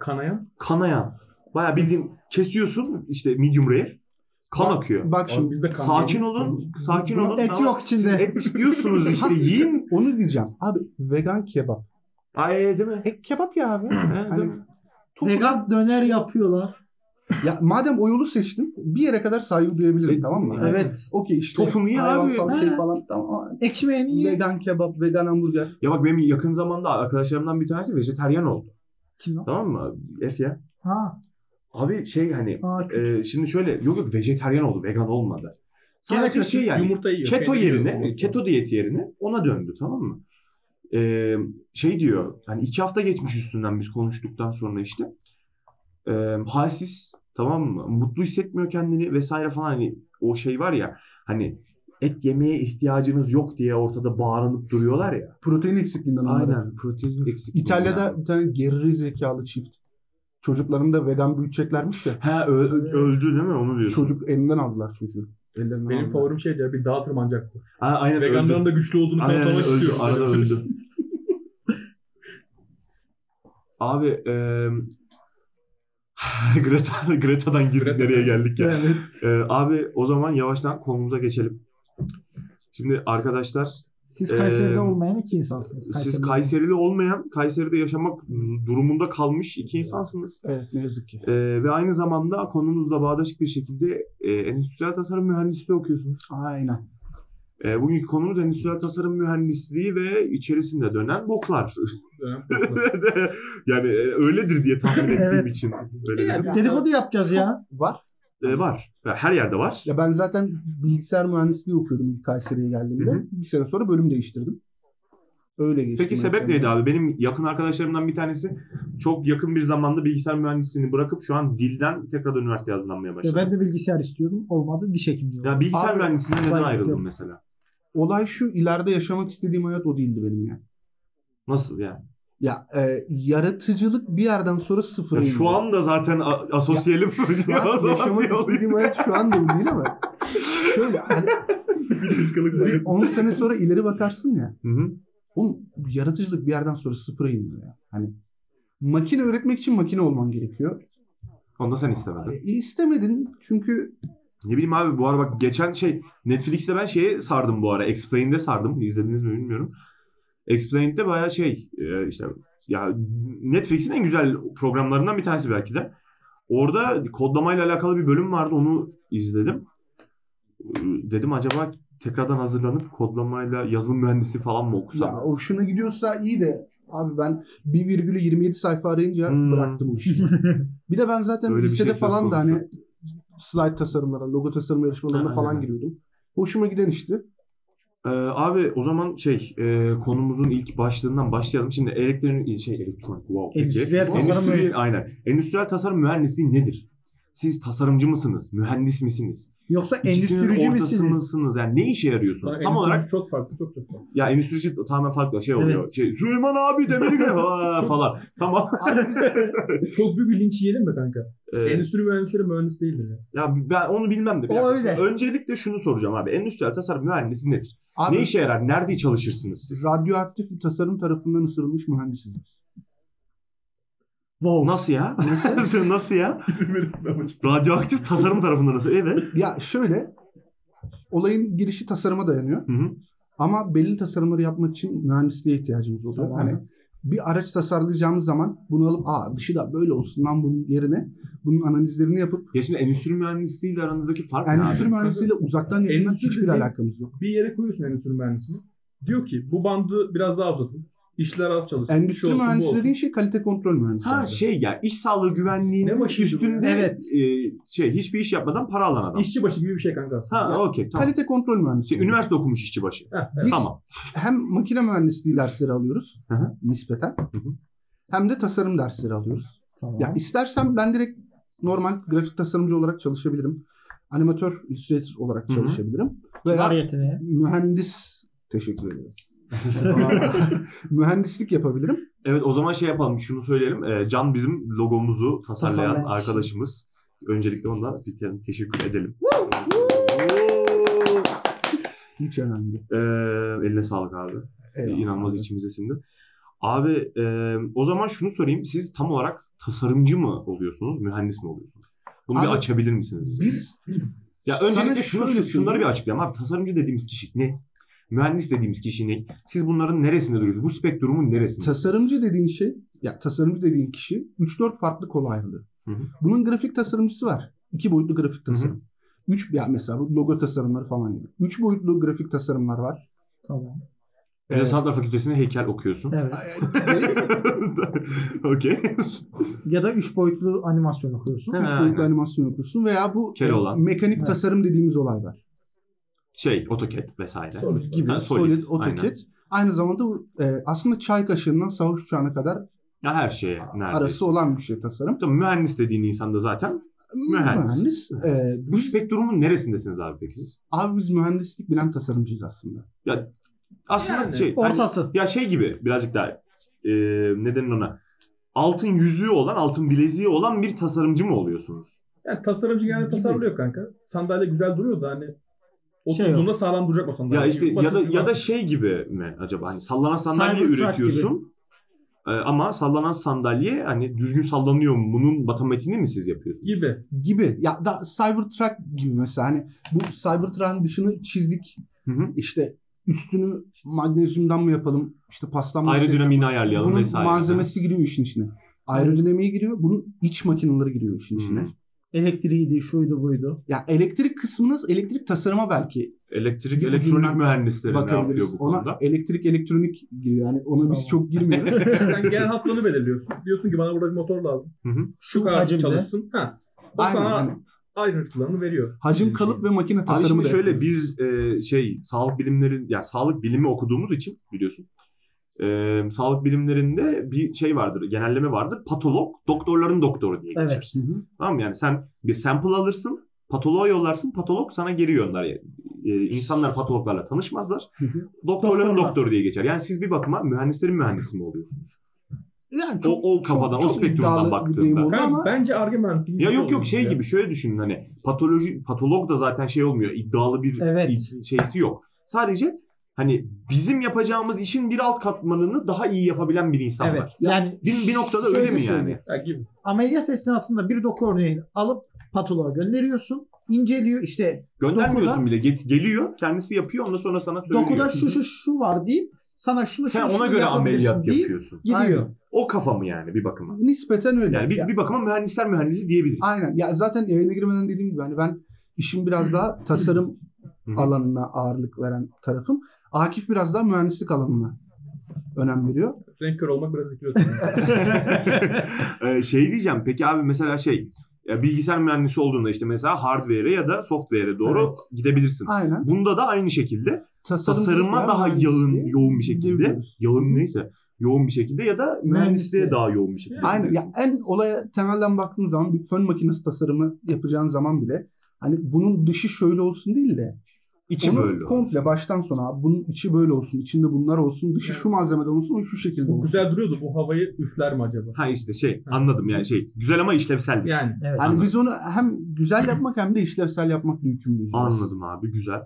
Kanayan.
Kanayan. Baya bildiğin kesiyorsun işte medium rare. Kan akıyor.
Bak
Abi
şimdi
bizde kan
Sakin
yok.
olun. Sakin olun.
et
tamam.
yok içinde.
Et
(laughs)
yiyorsunuz işte. Yiyin.
onu diyeceğim. Abi vegan kebap.
Ay değil mi?
E kebap ya abi.
He, değil
hani,
mi?
toplu-
Vegan döner yapıyorlar.
Ya madem o yolu seçtim bir yere kadar saygı duyabilirim
E,
tamam mı?
Evet.
Evet.
Okey işte.
Tofumu ye abi.
hayvansal
Ha.
şey falan tamam.
Ekmeğini ye.
Vegan kebap, vegan hamburger.
Ya bak benim yakın zamanda arkadaşlarımdan bir tanesi vejeteryan oldu.
Kim o?
Tamam mı? F ya.
Ha.
Abi şey hani
ha
e, şimdi şöyle yok yok vejeteryan oldu. Vegan olmadı.
Gene
Sadece
kötü
şey yani.
Yumurta yiyor.
keto
peynir yiyor.
yerine, keto diyeti yerine ona döndü tamam mı? Ee, şey diyor, hani iki hafta geçmiş üstünden biz konuştuktan sonra işte. Ee, halsiz, tamam mı? Mutlu hissetmiyor kendini vesaire falan hani o şey var ya hani et yemeye ihtiyacınız yok diye ortada bağırınıp duruyorlar ya.
Protein eksikliğinden onlara.
Aynen protein eksikliği.
İtalya'da
yani.
bir tane geri zekalı çift. Çocuklarını da vegan büyüteceklermiş ya.
He ö- ö- öldü değil mi onu diyorsun?
Çocuk elinden aldılar çocuğu. Ellerinden
Benim
aldılar.
favorim şeydi ya bir dağa tırmanacaktı.
Ha, aynen
Veganların
öldü.
da güçlü olduğunu
Aynen
kanıtlamak
öldü.
(laughs)
istiyorum.
Arada öldü. Abi eee (laughs) Greta, Greta'dan girdik
Greta.
nereye geldik ya.
Evet.
Ee, abi o zaman yavaştan konumuza geçelim. Şimdi arkadaşlar
Siz
Ee,
Kayseri'de olmayan iki insansınız.
siz
Kayseri'de.
Kayserili olmayan Kayseri'de yaşamak durumunda kalmış iki insansınız.
Evet ne yazık ki.
Ee, ve aynı zamanda konumuzla bağdaşık bir şekilde e, endüstriyel tasarım mühendisliği okuyorsunuz.
Aynen.
Ee, bugünkü konumuz endüstriyel tasarım mühendisliği ve içerisinde dönen boklar.
Dönem korkmaz.
(laughs) yani e, öyledir diye tahmin ettiğim
Evet.
için. Öyle dedim.
Dedikodu yapacağız ya.
Var.
Ee, var. Her yerde var.
Ya ben zaten bilgisayar mühendisliği okuyordum ilk Kayseri'ye geldiğimde.
Hı hı.
Bir sene sonra bölüm değiştirdim. Öyle geçtim.
Peki sebep
Yani.
neydi abi? Benim yakın arkadaşlarımdan bir tanesi çok yakın bir zamanda bilgisayar mühendisliğini bırakıp şu an dilden tekrar üniversiteye hazırlanmaya
Ya
başladı.
ben de bilgisayar istiyorum. Olmadı diş hekimliği.
Ya bilgisayar
Abi,
mühendisliğinden neden
ben-
ayrıldın mesela?
Olay şu ileride yaşamak istediğim hayat o değildi benim yani.
Nasıl yani?
Ya e, yaratıcılık bir yerden sonra sıfır.
Ya
indi.
şu anda zaten a- asosyalim. (laughs)
Ya
O zaman
yaşamak
bir oluyor.
istediğim hayat şu anda o değil
(laughs)
ama. Şöyle hani bir 10 sene sonra ileri bakarsın ya.
Hı hı.
Oğlum yaratıcılık bir yerden sonra sıfıra iniyor ya. Hani makine öğretmek için makine olman gerekiyor.
Onu da sen istemedin.
E, istemedin çünkü
Ne bileyim abi bu ara bak geçen şey Netflix'te ben şeye sardım bu ara. Explain'de sardım. İzlediniz mi bilmiyorum. Explain'de bayağı şey e, işte ya Netflix'in en güzel programlarından bir tanesi belki de. Orada kodlamayla alakalı bir bölüm vardı. Onu izledim. E, Dedim acaba tekrardan hazırlanıp kodlamayla yazılım mühendisi falan mı okusam?
ya hoşuna gidiyorsa iyi de abi ben 1,27 sayfa arayınca
Hmm.
bıraktım bu işi.
(laughs)
bir de ben zaten
Öyle bir
lisede
şey söz
falan da
konusu.
hani slide tasarımlara, logo tasarım yarışmalarına
Ha,
falan
aynen.
giriyordum. Hoşuma giden işti.
Ee, abi o zaman şey e, konumuzun ilk başlığından başlayalım. Şimdi elektronik şey elektronik wow. peki.
Endüstriyel tasarım
Endüstri-
mühendisi.
aynen. Endüstriyel tasarım mühendisliği nedir? Siz tasarımcı mısınız? Mühendis misiniz?
Yoksa
İkisinin
endüstrici
ortası
misiniz?
mısınız? Yani ne işe yarıyorsunuz?
Sonra
Tam
en-
olarak
çok farklı çok çok farklı.
ya endüstrici tamamen farklı şey oluyor. Şey, Süleyman abi demedi ki
(laughs)
"Ha," falan. Tamam.
Çok büyük bir linç yiyelim mi kanka?
Ee,
Endüstri mühendisleri mühendis değildir ya.
ya ben onu bilmem de. bir
O
dakika.
öyle.
Öncelikle şunu soracağım abi. Endüstriyel tasarım mühendisi nedir?
Abi
Ne işe yarar? Nerede çalışırsınız siz?
radyoaktif bir tasarım tarafından ısırılmış mühendisiz.
Nasıl ya? (laughs) Nasıl ya? Radyoaktif tasarım tarafından nasıl? Evet.
Ya şöyle olayın girişi tasarıma dayanıyor.
Hı hı.
Ama belli tasarımları yapmak için mühendisliğe ihtiyacımız oluyor.
Tamam.
Hani bir araç tasarlayacağımız zaman bunu alıp aa dışı da böyle olsun lan bunun yerine bunun analizlerini yapıp
Ya şimdi endüstri mühendisliğiyle aranızdaki fark ne
endüstri
abi?
mühendisiyle uzaktan yakından
Endüstri
hiçbir
dediğin-
alakamız yok.
Bir yere koyuyorsun endüstri mühendisini. Diyor ki bu bandı biraz daha uzatın. İşler az çalışsın. şu
Endüstri
olsun, bu
mühendisi
olsun.
dediğin şey kalite kontrol mühendisi.
Ha
abi.
şey ya iş sağlığı güvenliğinin
Ne başı bu
üstünde
ya?
Evet.
e, şey hiçbir iş yapmadan para alan adam.
İşçi başı gibi bir şey kanka aslında.
ha okey tamam.
Kalite kontrol mühendisi.
Şey, üniversite okumuş işçi başı.
Heh,
Biz
Tamam.
hem makine mühendisliği dersleri alıyoruz
Hı hı.
nispeten
hı.
hem de tasarım dersleri alıyoruz.
Tamam.
Ya istersem ben direkt normal grafik tasarımcı olarak çalışabilirim. Animatör, illustrator olarak
Hı hı.
çalışabilirim.
Var
Veya
(laughs)
yeteneği.
mühendis teşekkür ederim. Mühendislik yapabilirim.
Evet o zaman şey yapalım şunu söyleyelim. E, Can bizim logomuzu tasarlayan
Tasarlayan kişi.
arkadaşımız. Öncelikle ondan bir kere teşekkür edelim.
Hiç önemli. değil.
Ee, eline sağlık abi.
Eyvallah.
İnanılmaz içimize sindi. Ee, Abi e, o zaman şunu sorayım. Siz tam olarak tasarımcı mı oluyorsunuz, mühendis mi oluyorsunuz? Bunu bir
Abi,
açabilir misiniz bize?
Biz
Ya öncelikle şunu, şunu- şunları bir açıklayalım abi. Tasarımcı dediğimiz kişi ne? Mühendis dediğimiz kişi ne? Siz bunların neresinde duruyorsunuz? Bu spektrumun neresinde?
Tasarımcı dediğin şey, ya tasarımcı dediğin kişi 3-4 farklı kola ayrılıyor.
Hı hı.
Bunun grafik tasarımcısı var. İki boyutlu grafik
Hı hı.
tasarım. Üç, ya mesela bu logo tasarımları falan gibi. Üç boyutlu grafik tasarımlar var.
Tamam.
Bir de Sanatlar Fakültesi'nde heykel okuyorsun.
Evet.
Ve
(laughs) Okey.
Ya da üç boyutlu animasyon okuyorsun.
Ha,
üç boyutlu
aynen.
animasyon okusun veya bu e,
Keloğlan.
mekanik
Evet.
tasarım dediğimiz olay var.
Şey, AutoCAD vesaire.
Solid.
Gibi.
Ha, Solid,
Solid, AutoCAD.
aynen.
Aynı zamanda bu, e, aslında çay kaşığından savuş uçağına kadar
Ya her şeye neredeyse.
arası olan bir şey tasarım.
Tabii mühendis dediğin insan da zaten. Mühendis.
Mühendis. E,
Bu spektrumun neresindesiniz abi peki siz?
abi biz mühendislik bilen tasarımcıyız aslında.
Aslında
Yani,
şey. hani-
Ortası.
ya şey gibi birazcık daha e, ne denir ona? Altın yüzüğü olan, altın bileziği olan bir tasarımcı mı oluyorsunuz?
Yani tasarımcı genelde tasarlıyor kanka. Sandalye güzel duruyor da hani oturduğunda sağlam duracak o sandalye.
Şey Ya işte
Basit
ya da
bir
ya da
bak-
şey gibi mi acaba hani sallanan sandalye
Cybertruck
üretiyorsun. E, ama sallanan sandalye hani düzgün sallanıyor mu? Bunun matematiğini mi siz yapıyorsunuz?
gibi.
gibi. Ya da Cybertruck gibi mesela hani bu Cybertruck'ın dışını çizdik.
Hı hı.
İşte üstünü magnezyumdan mı yapalım? İşte paslanma
Aerodinamiğini ayarlayalım
Bunun
vesaire.
malzemesi giriyor işin içine. Aerodinamiği giriyor. Bunun iç makineleri giriyor işin
Hı.
içine.
Elektriğiydi, şuydu, buydu.
Ya elektrik kısmınız elektrik tasarıma belki
Elektrik,
Bir
elektronik
bilmem-
mühendisleri ne yapıyor
bakabiliriz.
bu
Ona
konuda?
elektrik elektronik giriyor. Yani ona biz
Tamam.
(laughs)
çok girmiyoruz.
Sen genel hatlarını belirliyorsun. Diyorsun ki bana burada bir motor lazım.
Hı hı.
Şu
Şu
kadar
hacimde.
çalışsın. Ha. O
Aynen,
sana
aynen.
ayrıntılarını veriyor.
Hacim
Şey,
kalıp ve makine
Abi
tasarımı.
şimdi
da
şöyle
yapıyoruz.
biz e, şey sağlık bilimlerin yani sağlık bilimi okuduğumuz için biliyorsun. e, sağlık bilimlerinde bir şey vardır, genelleme vardır. Patolog, doktorların doktoru diye
Evet.
geçer.
Hı hı.
Tamam mı? yani sen bir sample alırsın, patoloğa yollarsın, patolog sana geri gönder. E, insanlar patologlarla tanışmazlar.
Hı hı.
Doktorların
Doktorlar.
doktoru diye geçer. Yani siz bir bakıma mühendislerin mühendisi mi oluyorsunuz?
Yani
O- o kafadan, o spektrumdan
iddialı bir
baktığında.
deyim oldu
Kanka,
ama
bence argüman
Ya yok yok şey gibi şöyle düşünün hani patoloji patolog da zaten şey olmuyor iddialı bir
Evet.
i- şeysi yok. Sadece hani bizim yapacağımız işin bir alt katmanını daha iyi yapabilen bir insan
evet.
var.
Yani
Bir, bir noktada
Şöyle şey
öyle mi
söyleyeyim.
yani?
Ya gibi.
ameliyat esnasında bir doku örneğini alıp patoloğa gönderiyorsun. İnceliyor işte
Göndermiyorsun
Dokuda-
bile. Get- geliyor kendisi yapıyor ondan sonra sana söylüyor.
dokuda şu şu şu var deyip sana şunu şunu
Sen ona
şunu
göre
yapabilirsin
ameliyat
deyip
yapıyorsun.
Gidiyor.
Aynen.
O kafa mı yani bir bakıma?
nispeten öyle.
Yani
Ya-
biz bir bakıma mühendisler mühendisi diyebiliriz.
Aynen. Ya zaten yayına girmeden dediğim gibi hani ben işim biraz daha tasarım
Hı hı.
alanına ağırlık veren tarafım. Akif biraz daha mühendislik alanına önem veriyor.
Renk kör olmak biraz ekliyorsun.
(laughs) Ee, şey diyeceğim peki abi mesela şey ya bilgisayar mühendisi olduğunda işte mesela hardware'e ya da software'e doğru gidebilirsin.
Aynen.
Bunda da aynı şekilde
Tasarım
tasarıma daha yağın, yoğun bir şekilde,
diyebiliriz.
yağın neyse yoğun bir şekilde ya da mühendisliğe daha yoğun bir şekilde.
Aynen. Ya en olaya temelden baktığın zaman bir fön makinesi tasarımı yapacağın zaman bile hani bunun dışı şöyle olsun değil de
İçi
onu
böyle.
komple baştan sona abi bunun içi böyle olsun, içinde bunlar olsun, dışı şu malzemeden olsun, o şu şekilde
Bu
olsun.
güzel duruyordu. Bu havayı üfler mi acaba?
Ha işte şey anladım yani şey güzel ama işlevsel. değil.
Yani.
Evet.
Yani Hani biz onu hem güzel yapmak hem de işlevsel yapmak yükümlüyüz.
Anladım abi güzel.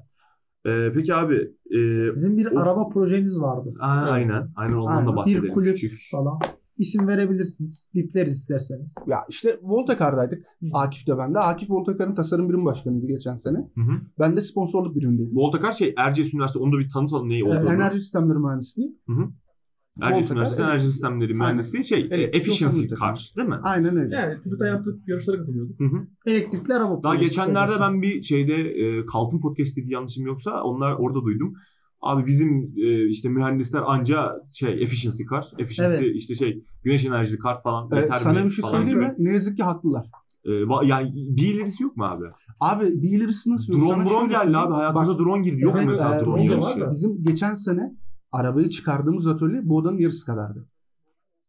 Ee, peki abi e,
Bizim bir
O-
araba projemiz vardı.
a- aynen aynen ondan
Aynen.
da bahsedelim.
Bir kulüp
Küçük.
falan. İsim verebilirsiniz. Bipleriz isterseniz.
Ya işte Voltakar'daydık. Akif de bende. Akif Voltakar'ın tasarım birim başkanıydı geçen sene.
Hı hı.
Ben de sponsorluk birimindeydim.
Voltakar şey Erciyes Üniversitesi onu da bir tanıtalım neyi
Yani
olduğunu.
enerji sistemleri mühendisliği.
Erciyes
Voltakar,
Üniversitesi
evet.
Enerji Sistemleri Mühendisliği şey e,
Evet,
efficiency
doksanlı
karşı değil mi?
Aynen öyle.
Yani TÜBİTAK yaptığı yarışlara katılıyorduk.
Hı hı.
Elektrikli araba
Daha
projesi
geçenlerde
projesi.
ben bir şeyde e, Kaltın Podcast dedi yanlışım yoksa onlar orada duydum. Abi bizim e, işte mühendisler anca şey efficiency kar, efficiency işte şey güneş enerjili kar falan
Ee,
yeter
sana
mi
bir şey
falan.
söyleyeyim mi? Ne yazık ki haklılar.
E, va- yani bir ilerisi yok mu abi?
Abi bir ilerisi nasıl? yok?
Drone
Sana
drone
şöyle
geldi
söyleyeyim.
abi hayatımıza
Bak,
drone girdi. Yok mu
evet,
mesela
e,
drone
drone da var
yarışı?
da.
Bizim geçen sene arabayı çıkardığımız atölye bu odanın yarısı kadardı.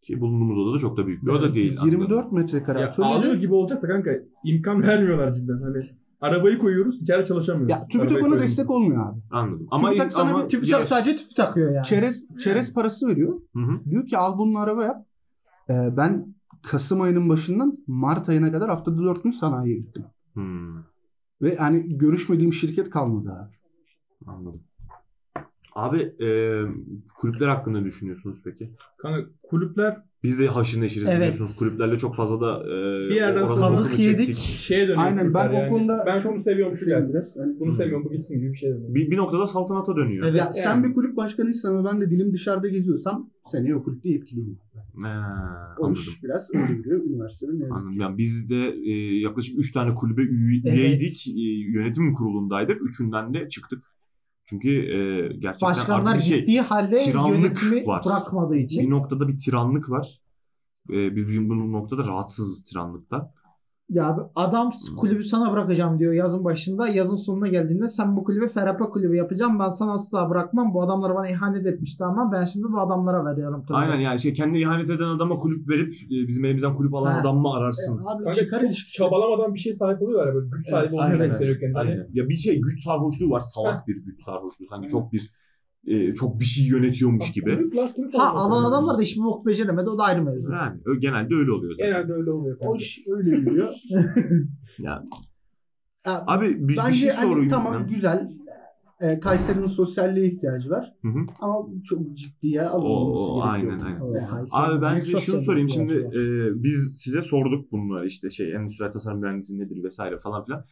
Ki bulunduğumuz oda da çok da büyük bir oda değil.
24 metrekare
Ya
atölyede.
ağlıyor gibi olacak da kanka imkan (laughs) vermiyorlar cidden. Hani arabayı koyuyoruz içeri çalışamıyoruz.
Ya TÜBİTAK
Arabayı
ona
koyuyoruz.
destek olmuyor abi.
Anladım. Ama
TÜBİTAK sana
ama
bir
Tüp
Ya-
tak- sadece tüp takıyor yani.
Çerez, çerez parası veriyor.
Hı hı.
Diyor ki al bununla araba yap. Ee, ben Kasım ayının başından Mart ayına kadar haftada 4 gün sanayiye gittim.
Hmm,
Ve hani görüşmediğim şirket kalmadı abi.
anladım. Abi e, kulüpler hakkında ne düşünüyorsunuz peki?
Kanka kulüpler
Biz de haşır neşiriz
Evet.
biliyorsunuz. Kulüplerle çok fazla da e,
Bir yerden
orada
sonra
bokunu
yedik.
çektik.
şeye dönüyor.
Aynen,
kulüpler
ben o
yani.
konuda
ben
çok
şunu seviyorum şu gelsin.
Yani-
Bunu
Hı.
seviyorum bu gitsin gibi bir şey dönüyor.
Bir, bir noktada saltanata dönüyor.
Evet.
Ya
Yani.
sen bir kulüp başkanıysan ve ben de dilim dışarıda geziyorsam seni o kulüpte yetkiliyim.
Ha,
O
anladım.
iş biraz öyle yürüyor üniversitenin. ne yazık ki.
Anladım. Yani biz de e, yaklaşık 3 tane kulübe üye-
Evet.
üyeydik. E, yönetim kurulundaydık. Üçünden de çıktık. Çünkü e, gerçekten
Başkanlar
artık bir şey
gittiği halde
tiranlık
yönetimi
var.
bırakmadığı
bir
için.
noktada bir tiranlık var. E, biz bu bu noktada rahatsızız tiranlıkta.
Ya adam
Hmm.
kulübü sana bırakacağım diyor yazın başında. Yazın sonuna geldiğinde sen bu kulübü Ferapa kulübü yapacağım. Ben sana asla bırakmam. Bu adamlar bana ihanet etmişti ama ben şimdi bu adamlara veriyorum. tabii.
Aynen yani şey kendi ihanet eden adama kulüp verip e, bizim elimizden kulüp alan
Ha.
adam mı
E,
ararsın?
Abi
Kanka
çıkar
çok
ilişki.
çabalamadan bir şey sahip oluyorlar ya böyle güç
Evet,
sahibi olmak
Aynen.
istiyor kendini.
Aynen. Ya bir şey güç sarhoşluğu var. Salak bir güç sarhoşluğu. Sanki çok bir e, çok bir şey yönetiyormuş gibi.
Kulüp lan, kulüp
Ha
olmak
alan
zorunda.
adamlar da hiçbir bok beceremedi. O da ayrı mevzu.
Yani ö- genelde öyle oluyor zaten.
Genelde öyle oluyor.
O
kanka.
iş
(laughs)
öyle yürüyor.
Yani.
Ya,
Abi bir, bir
Bence
şey
hani
sorayım.
tamam
ben.
güzel. E, Kayseri'nin sosyalliğe ihtiyacı var.
Hı hı.
Ama çok ciddiye
O- o,
alınması gerekiyor.
aynen, aynen.
Evet.
Abi ben
Büyük
size şunu
sosyal
sorayım.
bir
Şimdi
ihtiyacı var.
e, biz size sorduk bunları işte şey endüstriyel tasarım mühendisliği nedir vesaire falan filan.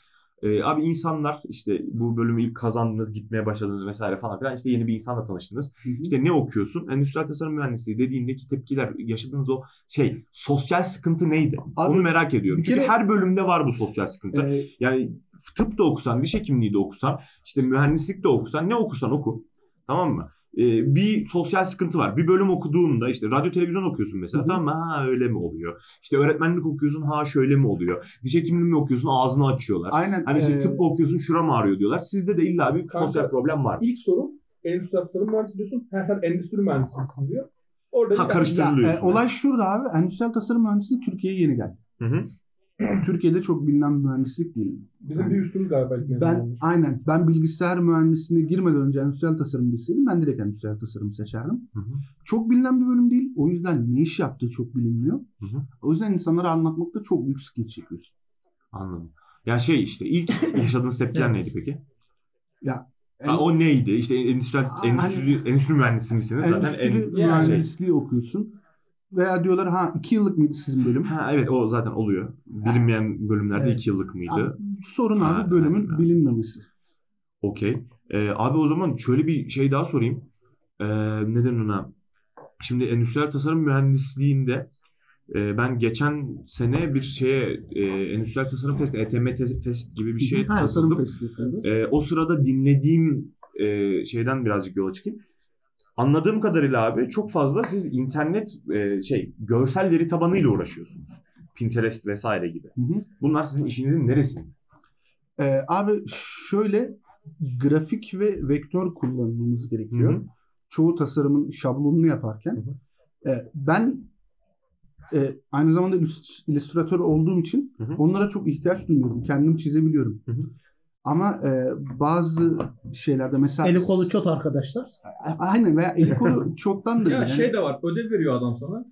E, abi insanlar işte bu bölümü ilk kazandınız, gitmeye başladınız vesaire falan filan. İşte yeni bir insanla tanıştınız.
Hı hı.
İşte ne okuyorsun? Endüstriyel tasarım mühendisliği dediğindeki tepkiler, yaşadığınız o şey, sosyal sıkıntı neydi?
Abi,
Onu merak ediyorum.
bir
Çünkü
kere-
her bölümde var bu sosyal sıkıntı.
E,
Yani tıp da okusan, diş hekimliği de okusan, işte mühendislik de okusan, ne okursan oku. Tamam mı? Ee, bir sosyal sıkıntı var. Bir bölüm okuduğunda işte radyo televizyon okuyorsun mesela.
Hı hı.
Tamam mı? Ha öyle mi oluyor? İşte öğretmenlik okuyorsun. Ha şöyle mi oluyor? Diş hekimliği mi okuyorsun? Ağzını açıyorlar.
aynen.
Hani işte
e,
tıp okuyorsun şuram ağrıyor diyorlar. Sizde de illa bir
Kanka-
sosyal problem var.
İlk soru endüstri tasarım mühendisi diyorsun. Ha sen endüstri mühendisi misin diyor. Orada
Ha,
bir-
karıştı.
ya,
Hatırlıyorsun.
e, olay şurada abi. Endüstriyel tasarım mühendisliği Türkiye'ye yeni geldi.
Hı hı.
(clears throat) Türkiye'de çok bilinen bir mühendislik değil.
Bizim bir üstümüz galiba. ilk mezun
Ben
olmuş.
aynen ben bilgisayar mühendisliğine girmeden önce endüstriyel tasarım bilseydim ben direkt endüstriyel tasarım seçerdim.
Hı hı.
Çok bilinen bir bölüm değil. O yüzden ne iş yaptığı çok bilinmiyor.
Hı hı.
O yüzden insanlara anlatmakta çok büyük sıkıntı çekiyorsun.
Anladım. Ya şey işte
(laughs)
ilk yaşadığınız tepkiler neydi peki? Ha,
En-
o neydi? İşte endüstriyel,
Aa,
endüstri, endüstri mühendisi misiniz? Zaten
endüstri
en,
yani-
mühendisliği okuyorsun. Veya diyorlar ha iki yıllık mıydı sizin bölüm?
Ha evet o zaten oluyor. Bilinmeyen bölümlerde
Evet.
2 yıllık mıydı?
Ha, Sorun abi
Ha,
bölümün
aynen.
bilinmemesi.
Okey. Ee, abi o zaman şöyle bir şey daha sorayım. Ee, neden ona? Şimdi endüstriyel tasarım mühendisliğinde e, ben geçen sene bir şeye e, endüstriyel tasarım testi, ETM te- test gibi bir şey şeye
Ha,
katıldım.
felsefesi.
Ee, o sırada dinlediğim e, şeyden birazcık yola çıkayım. Anladığım kadarıyla abi çok fazla siz internet e, şey görsel veri tabanıyla uğraşıyorsunuz. Pinterest vesaire gibi.
Hı hı.
Bunlar sizin işinizin neresi?
Ee, abi şöyle grafik ve vektör kullanmamız gerekiyor.
Hı hı.
Çoğu tasarımın şablonunu yaparken.
Hı
Ee, ben e, aynı zamanda illüst- illüstratör olduğum için
Hı hı.
onlara çok ihtiyaç duymuyorum. Kendim çizebiliyorum.
Hı hı.
Ama e, bazı şeylerde mesela
Eli kolu çot arkadaşlar.
A- aynen veya
(laughs)
el kolu çoktan da
Ya
değil.
şey de var. Ödev veriyor adam sana.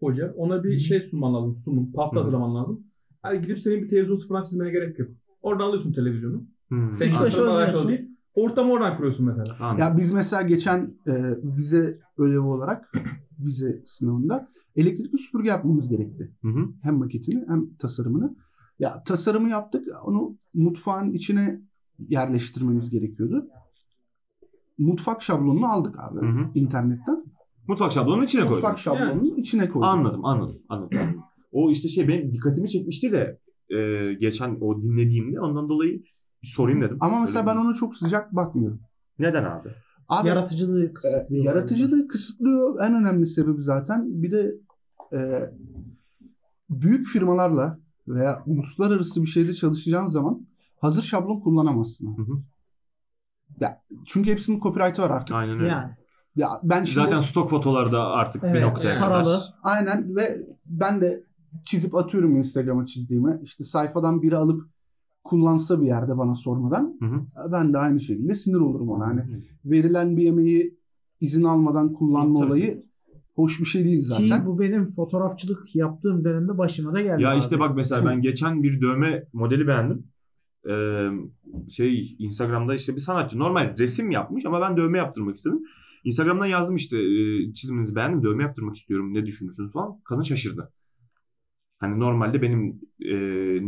Hoca. Ona bir şey sunman lazım. Sunum. Pasta
Hı.
hazırlaman lazım. Yani gidip senin bir televizyon sıfırdan çizmene gerek yok. Oradan alıyorsun televizyonu.
Hmm,
Senin
Hiç
anladım.
başı
tasarımla alakalı
olmuyorsun.
değil. Ortamı oradan kuruyorsun mesela.
Anladım.
Ya biz mesela geçen e, vize ödevi olarak vize sınavında elektrikli süpürge yapmamız gerekti.
Hı hı.
hem maketini hem tasarımını. Ya tasarımı yaptık. Onu mutfağın içine yerleştirmemiz gerekiyordu. Mutfak şablonunu aldık abi
Hı hı.
internetten.
Mutfak şablonunun içine koydum.
Mutfak şablonunun içine koyduk.
Anladım, anladım, anladım. anladım. O işte şey benim dikkatimi çekmişti de e, geçen o dinlediğimde ondan dolayı bir sorayım dedim.
Ama mesela
Öyle
ben
mi?
ona çok sıcak bakmıyorum.
Neden abi?
Abi
Yaratıcılığı
e,
kısıtlıyor.
yaratıcılığı kısıtlıyor en önemli sebebi zaten. Bir de e, büyük firmalarla veya uluslararası bir şeyde çalışacağın zaman hazır şablon kullanamazsın. abi.
Hı hı.
Ya, çünkü hepsinin copyright'ı var artık.
Aynen öyle.
Yani.
Ya ben şimdi
Zaten stok fotolarda artık Hmm. bir
Evet,
noktaya
paralı.
kadar.
Aynen ve ben de çizip atıyorum Instagram'a çizdiğimi. İşte sayfadan biri alıp kullansa bir yerde bana sormadan
Hı hı.
ben de aynı şekilde sinir olurum ona. Hani
Hı.
verilen bir yemeği izin almadan kullanma
Tabii.
olayı hoş bir şey değil
Ki
zaten.
bu benim fotoğrafçılık yaptığım dönemde başıma da geldi.
Ya
abi.
(laughs)
işte bak mesela ben geçen bir dövme modeli beğendim. e, şey Instagram'da işte bir sanatçı normal resim yapmış ama ben dövme yaptırmak istedim. Instagram'dan yazdım işte e, çiziminizi beğendim dövme yaptırmak istiyorum ne düşünürsünüz falan. Kadın şaşırdı. Hani normalde benim e,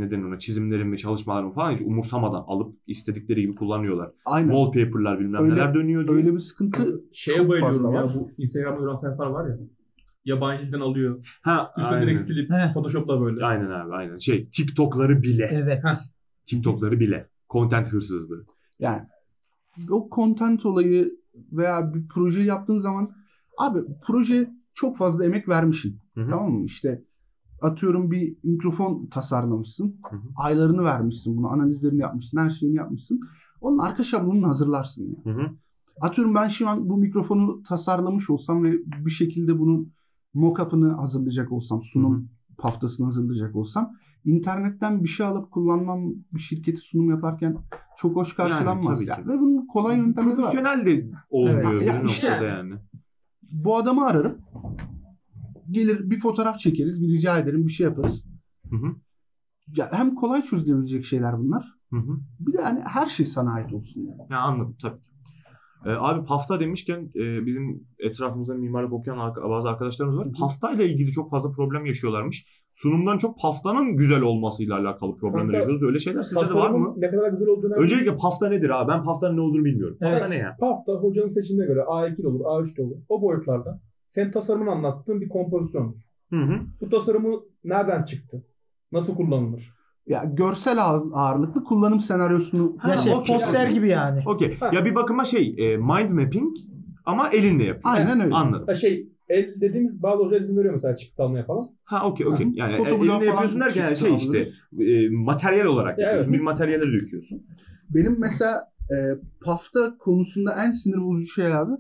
neden ona çizimlerimi, çalışmalarımı falan hiç umursamadan alıp istedikleri gibi kullanıyorlar.
Aynen.
Wallpaper'lar bilmem
Öyle-
neler dönüyor diye.
Öyle bir sıkıntı
Şeye
çok
bayılıyorum
fazla
ya
var.
bu Instagram'da duran sayfalar var ya. Yabancıdan alıyor.
Ha,
Üstüne
aynen.
direkt silip
Heh.
Photoshop'la böyle.
Aynen abi aynen. Şey TikTok'ları bile.
Evet.
TikTok'ları bile. Content hırsızlığı.
Yani o content olayı veya bir proje yaptığın zaman abi proje çok fazla emek vermişsin.
Hı hı.
Tamam mı? İşte atıyorum bir mikrofon tasarlamışsın.
Hı hı.
Aylarını vermişsin bunu. Analizlerini yapmışsın. Her şeyini yapmışsın. Onun arka şablonunu hazırlarsın. Yani.
Hı hı.
Atıyorum ben şu an bu mikrofonu tasarlamış olsam ve bir şekilde bunun mock-up'ını hazırlayacak olsam,
Hı
sunum haftasını hazırlayacak olsam internetten bir şey alıp kullanmam bir şirketi sunum yaparken çok hoş
Yani
karşılanmaz.
tabii
yani.
ki.
Ve bunun kolay yöntemleri var.
Profesyonel de olmuyor
Evet.
bir
Ya işte-
noktada yani.
Bu adamı ararım. Gelir bir fotoğraf çekeriz, bir rica ederim, bir şey yaparız.
Hı hı.
Ya hem kolay çözülebilecek şeyler bunlar.
Hı hı.
Bir de hani her şey sana ait olsun. Yani.
Ya anladım tabii. Ee, abi pafta demişken e, bizim etrafımızda mimarlık okuyan arka- bazı arkadaşlarımız var.
Hı hı.
Paftayla ilgili çok fazla problem yaşıyorlarmış. Sunumdan çok paftanın güzel olmasıyla alakalı problemler
Kanka,
yaşıyoruz. Öyle şeyler sizde de var
Tasarımın
mı?
Ne kadar güzel olduğunu
Öncelikle pafta nedir abi? Ben paftanın ne olduğunu bilmiyorum.
Evet.
Pafta ne ya?
Pafta hocanın seçimine göre A2 de olur, A3 de olur. O boyutlarda senin tasarımını anlattığın bir kompozisyon.
Hı hı.
Bu tasarımı nereden çıktı? Nasıl kullanılır?
Ya görsel ağır- ağırlıklı kullanım senaryosunu
Ha,
Ya şey,
okey,
poster
okey.
gibi yani.
Okey.
Ha.
Ya bir bakıma şey e, mind mapping ama elinle yapıyor.
Aynen öyle.
Anladım.
Ha şey, el dediğimiz bazı hocalar izin veriyor mesela çıktı almaya falan.
Ha okey okey. Yani e,
Fotoğraf
elinle
falan
yapıyorsun derken yani şey
çıktı,
işte e, materyal olarak
Ya
yapıyorsun.
evet.
Bir materyale döküyorsun. E,
Benim mesela e, PAF'ta konusunda en sinir bozucu şey abi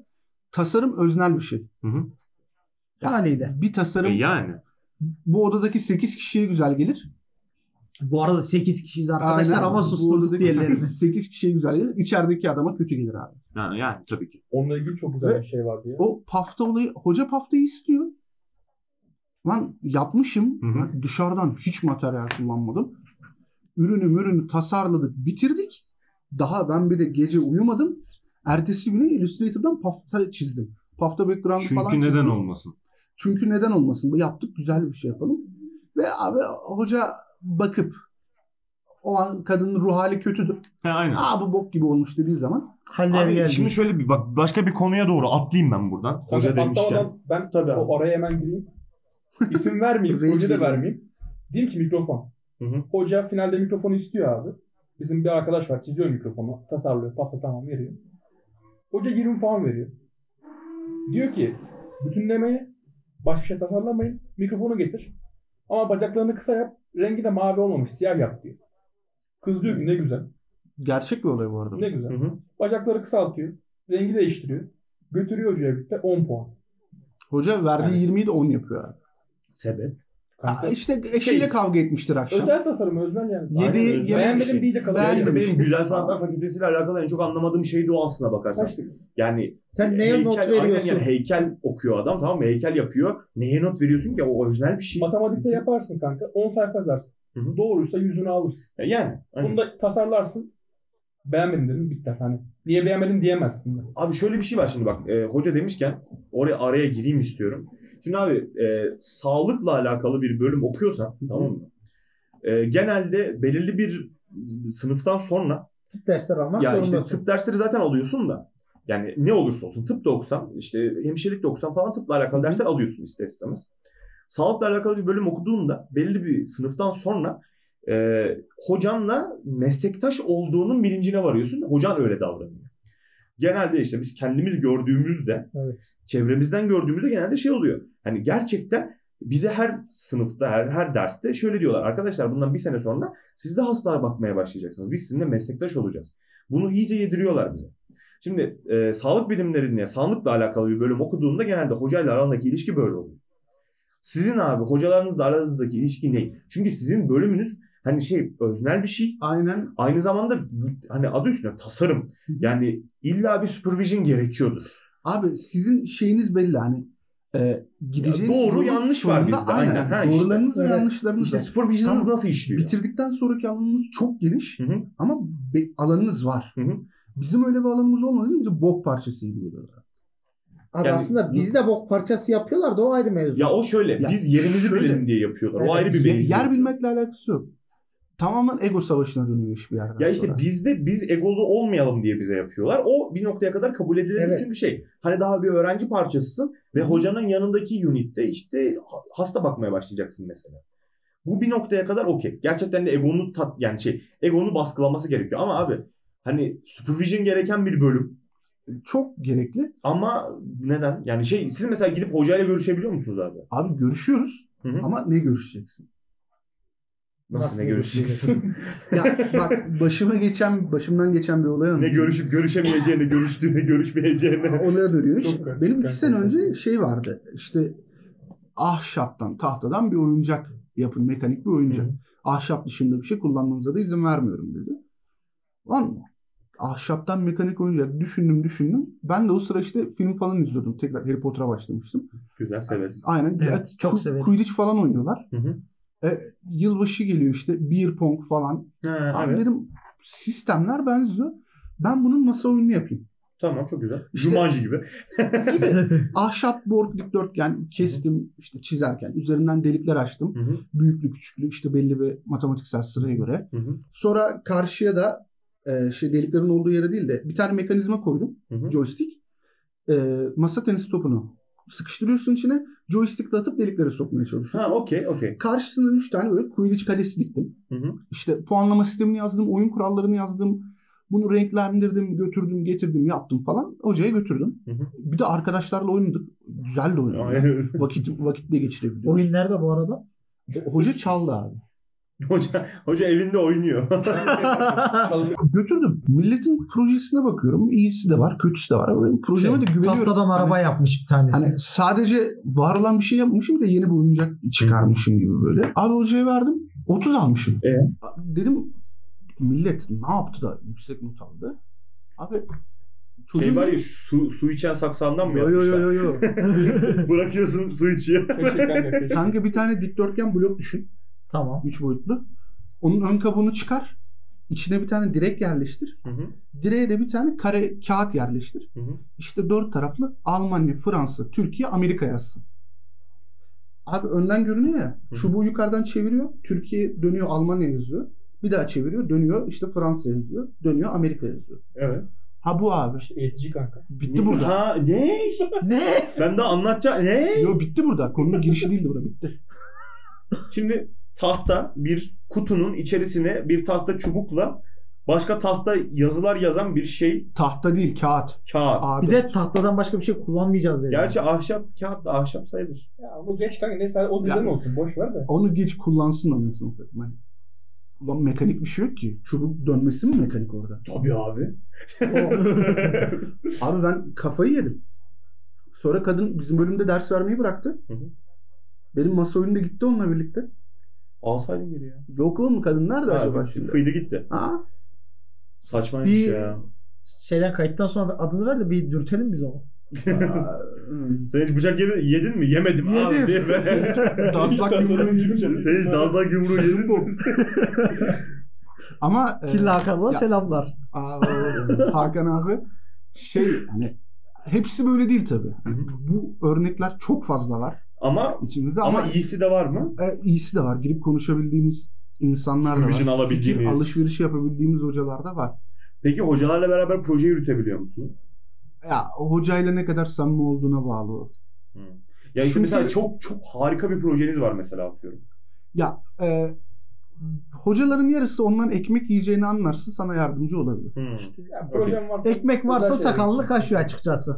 tasarım öznel bir şey.
Hı hı.
Haliyle.
Bir
E,
tasarım
yani.
bu odadaki 8 kişiye güzel gelir.
Bu arada 8 kişiyiz arkadaşlar
Aynen.
ama
Bu
susturduk
odadaki (laughs)
diğerlerini.
8 kişiye güzel gelir. İçerideki adama kötü gelir abi.
Yani, yani tabii ki.
Onunla ilgili çok güzel
Ve-
bir şey vardı ya.
O PAF'ta olayı hoca PAF'tayı istiyor. Lan yapmışım.
Hı hı.
Lan dışarıdan hiç materyal kullanmadım. Ürünü mürünü tasarladık, bitirdik. Daha ben bir de gece uyumadım. Ertesi günü Illustrator'dan PAF'ta çizdim. PAF'ta background falan
Çünkü neden
çizdim.
olmasın?
Çünkü neden olmasın? Bu yaptık güzel bir şey yapalım. Ve abi hoca bakıp o an kadının ruh hali kötüdür.
He aynen.
Aa bu bok gibi olmuş dediği zaman
Halleri
Abi,
geldi.
şimdi şöyle bir bak başka bir konuya doğru atlayayım ben buradan. Hoca
Kanka,
demişken.
patlamadan Ben
Tabii
tabii
abi.
o araya hemen gireyim. İsim vermeyeyim,
Renk
hoca da
vereyim.
vermeyeyim. Diyeyim ki mikrofon.
Hı hı.
Hoca finalde mikrofonu istiyor abi. Bizim bir arkadaş var çiziyor mikrofonu. Tasarlıyor. Pasta tamam veriyor. Hoca 20 puan veriyor. Diyor ki bütünlemeye başka bir şey tasarlamayın. Mikrofonu getir. Ama bacaklarını kısa yap. Rengi de mavi olmamış. Siyah yap diyor. Kız diyor ki ne güzel.
gerçek bir olay bu arada.
Ne güzel.
Hı hı.
Bacakları kısaltıyor. Rengi değiştiriyor. Götürüyor hocaya birlikte 10 puan.
Hoca verdiği
Evet.
20'yi de 10 yapıyor abi.
Sebep.
Aa,
Kanka,
işte eşiyle
Şey-
kavga etmiştir akşam.
özel tasarım, özel yani.
Yedi-
Aynen öyle.
yemek
Beğenmedim
işi.
diyecek adam.
Ben
Beğenmedim.
işte benim Güzel Sanatlar Fakültesi'yle alakalı en çok anlamadığım şey de o aslına bakarsan.
Kaçtık.
Yani e,
Sen neye not
heykel- aynen
veriyorsun?
yani heykel okuyor adam tamam mı? Heykel yapıyor. Neye not veriyorsun ki? O özel bir şey.
Matematikte yaparsın kanka. 10 sayfa yazarsın.
Hı hı.
Doğruysa yüzünü alırsın.
E, Yani. aynen.
Bunu da tasarlarsın. Beğenmedim dedim bitti. Hani niye beğenmedim diyemezsin. de.
(laughs) Abi şöyle bir şey var şimdi bak. e, hoca demişken oraya araya gireyim istiyorum. Şimdi abi e, sağlıkla alakalı bir bölüm okuyorsan tamam mı? E, genelde belirli bir sınıftan sonra
Tıp dersleri almak
ya işte
zorundasın.
tıp dersleri zaten alıyorsun da yani ne olursa olsun tıp da okusan işte hemşirelik de okusan falan tıpla alakalı dersler alıyorsun ister istemez. Sağlıkla alakalı bir bölüm okuduğunda belli bir sınıftan sonra e, hocanla meslektaş olduğunun bilincine varıyorsun. Hocan öyle davranıyor. Genelde işte biz kendimiz gördüğümüzde,
Evet.
çevremizden gördüğümüzde genelde şey oluyor. Hani gerçekten bize her sınıfta, her, her derste şöyle diyorlar. Arkadaşlar bundan bir sene sonra siz de hastalara bakmaya başlayacaksınız. Biz sizinle meslektaş olacağız. Bunu iyice yediriyorlar bize. Şimdi e, sağlık bilimlerinde, sağlıkla alakalı bir bölüm okuduğunda genelde hocayla arandaki ilişki böyle oluyor. Sizin abi hocalarınızla aranızdaki ilişki ne? Çünkü sizin bölümünüz hani şey öznel bir şey.
Aynen
Aynı zamanda bu- hani adı üstünde tasarım. Yani illa bir supervision gerekiyordur.
Abi sizin şeyiniz belli hani e, gideceğiz.
doğru yanlış var bizde. Aynen. Ha, işte.
Doğrularınız ve
Evet.
yanlışlarınız
İşte
var.
spor vicdanınız
Tamam.
nasıl işliyor?
Bitirdikten sonraki alanınız çok geniş
Hı hı.
ama be- alanınız var.
Hı hı.
Bizim öyle bir alanımız olmadı değil mi? Bizi bok parçasıydı diyorlar.
Abi
Yani-
aslında bizde bok parçası yapıyorlar da o ayrı mevzu.
Ya o şöyle.
Ya
biz yerimizi
şöyle.
bilelim diye yapıyorlar.
Evet,
o ayrı bir
Yer,
mevzu.
yer bilmekle alakası yok. Tamamen ego savaşına dönüyor iş bir yerden
Ya işte
sonra.
bizde biz egolu olmayalım diye bize yapıyorlar. O bir noktaya kadar kabul edilir
Evet.
çünkü şey hani daha bir öğrenci parçasısın ve hocanın yanındaki unitte işte hasta bakmaya başlayacaksın mesela. Bu bir noktaya kadar okey. Gerçekten de egonu tat yani şey egonu baskılaması gerekiyor ama abi hani supervision gereken bir bölüm
çok gerekli.
ama neden? Yani şey siz mesela gidip hocayla görüşebiliyor musunuz abi?
Abi görüşüyoruz
Hı hı.
ama ne görüşeceksin?
Nasıl ne görüşeceksin?
Ya bak başıma geçen başımdan geçen bir
(laughs)
olay
ne
anlatayım.
görüşüp görüşemeyeceğini, görüştüğüne, görüşmeyeceğini.
Olaya dönüyor.
Çok
İşte
garip.
benim iki
Gerçekten
sene önce
çok.
şey vardı. İşte ahşaptan, tahtadan bir oyuncak yapın. Mekanik bir oyuncak.
Hı hı.
Ahşap dışında bir şey kullanmanıza da izin vermiyorum dedi. Lan ahşaptan mekanik oyuncak düşündüm düşündüm. Ben de o sıra işte film falan izliyordum. Tekrar Harry Potter'a başlamıştım.
Güzel severiz.
Aynen.
Evet,
Ya,
çok
ku-
severiz.
Quidditch falan oynuyorlar.
Hı hı.
E, yılbaşı geliyor işte. Beer pong falan.
Ha,
Abi
evet.
dedim sistemler benziyor. Ben bunun masa oyunu yapayım.
Tamam çok güzel.
İşte-
Jumanji gibi.
Ahşap borg dikdörtgen kestim işte çizerken üzerinden delikler açtım.
Hı hı.
Büyüklü küçüklü işte belli bir matematiksel sıraya göre.
Hı hı.
Sonra karşıya da e, şey deliklerin olduğu yere değil de bir tane mekanizma koydum.
Hı hı.
Joystick. E, masa tenisi topunu sıkıştırıyorsun içine. Joystick'le atıp deliklere sokmaya çalışıyorsun.
Ha okey okey.
Karşısında 3 tane böyle Quidditch kalesi diktim.
Hı hı.
İşte puanlama sistemini yazdım, oyun kurallarını yazdım. Bunu renklendirdim, götürdüm, getirdim, yaptım falan. Hocaya götürdüm.
Hı hı.
Bir de arkadaşlarla oynadık. Güzel de oynadık.
Aynen.
Vakit vakit de geçirebiliyoruz.
Oyun nerede bu arada?
Hoca çaldı abi.
(laughs) hoca, hoca evinde
(laughs)
oynuyor.
Çalın-
Götürdüm. Milletin projesine bakıyorum. İyisi de var, kötüsü de var. Benim projeme de güveniyorum.
Şey, Tahtadan araba yapmış bir tanesi.
Hani, hani sadece var olan bir şey yapmışım da yeni bir oyuncak çıkarmışım gibi böyle. Abi hocaya verdim. 30 almışım.
E?
Dedim millet ne yaptı da yüksek not aldı? Abi
şey var ya su, su içen saksağından mı
Yo yo yo
yapmışlar?
yo
(laughs)
yo. (laughs)
Bırakıyorsun su içiyor.
Teşekkür ederim.
Kanka bir tane dikdörtgen blok düşün.
tamam.
3 boyutlu. Onun ön kabuğunu çıkar. İçine bir tane direk yerleştir.
Hı hı.
Direğe de bir tane kare kağıt yerleştir.
Hı hı.
İşte dört taraflı Almanya, Fransa, Türkiye, Amerika yazsın. Abi önden görünüyor ya.
Hı hı.
Çubuğu yukarıdan çeviriyor. Türkiye dönüyor Almanya yazıyor. Bir daha çeviriyor. Dönüyor işte Fransa yazıyor. Dönüyor Amerika yazıyor.
(laughs) Evet.
Ha bu abi.
Eğitici Şey, kanka.
Bitti burada.
Ha ne?
Ne?
Ben daha anlatacağım. Ne?
Yo bitti burada. Konunun girişi değildi burada. Bitti.
Şimdi tahta bir kutunun içerisine bir tahta çubukla başka tahta yazılar yazan bir şey
Tahta değil kağıt.
kağıt.
Abi.
Bir de tahtadan başka bir şey kullanmayacağız dedi.
Gerçi ahşap kağıt da ahşap
(laughs)
sayılır.
Ya bu geç kanka neyse o
Ya-
düzen olsun boş ver de.
Onu geç kullansın anasını satayım. Hani. Ulan mekanik bir şey yok ki. Çubuk dönmesi mi mekanik orada?
Tabii abi.
Abi ben kafayı yedim. Sonra kadın bizim bölümde ders vermeyi bıraktı.
Hı hı.
Benim masa oyununda gitti onunla birlikte.
Alsaydın geri ya.
Yok oğlum kadın nerede acaba
Abi,
şimdi?
Kıydı gitti.
Ha?
Saçmaymış
Bir-
ya.
Şeyden kayıttan sonra adını ver de bir dürtelim biz onu.
Aa, hmm.
Sen hiç bıçak yedin, yedin mi? Yemedim
Yedim.
abi diye be. (laughs)
Dazlak yumruğu yedim.
Sen hiç dazlak yumruğu yedin mi?
Ama
Ee,
e,
Killa Hakan'la
ya-
selamlar.
Aa, Hakan abi şey hani hepsi böyle değil tabii. Hani
Hı
bu örnekler çok fazla var
Ama
içimizde ama,
ama iyisi de var mı?
E, iyisi de var. Girip konuşabildiğimiz insanlar da var.
Supervision alabildiğimiz.
Fikir alışverişi yapabildiğimiz hocalar da var.
Peki hocalarla beraber proje yürütebiliyor musunuz?
Ya o hocayla ne kadar samimi olduğuna bağlı. o.
Hmm. Ya işte
Çünkü-
mesela çok çok harika bir projeniz var mesela atıyorum.
E, hocaların yarısı ondan ekmek yiyeceğini anlarsa sana yardımcı olabilir.
Hı.
Ya projem varsa. şey
Ekmek varsa sakallı kaşıyor açıkçası.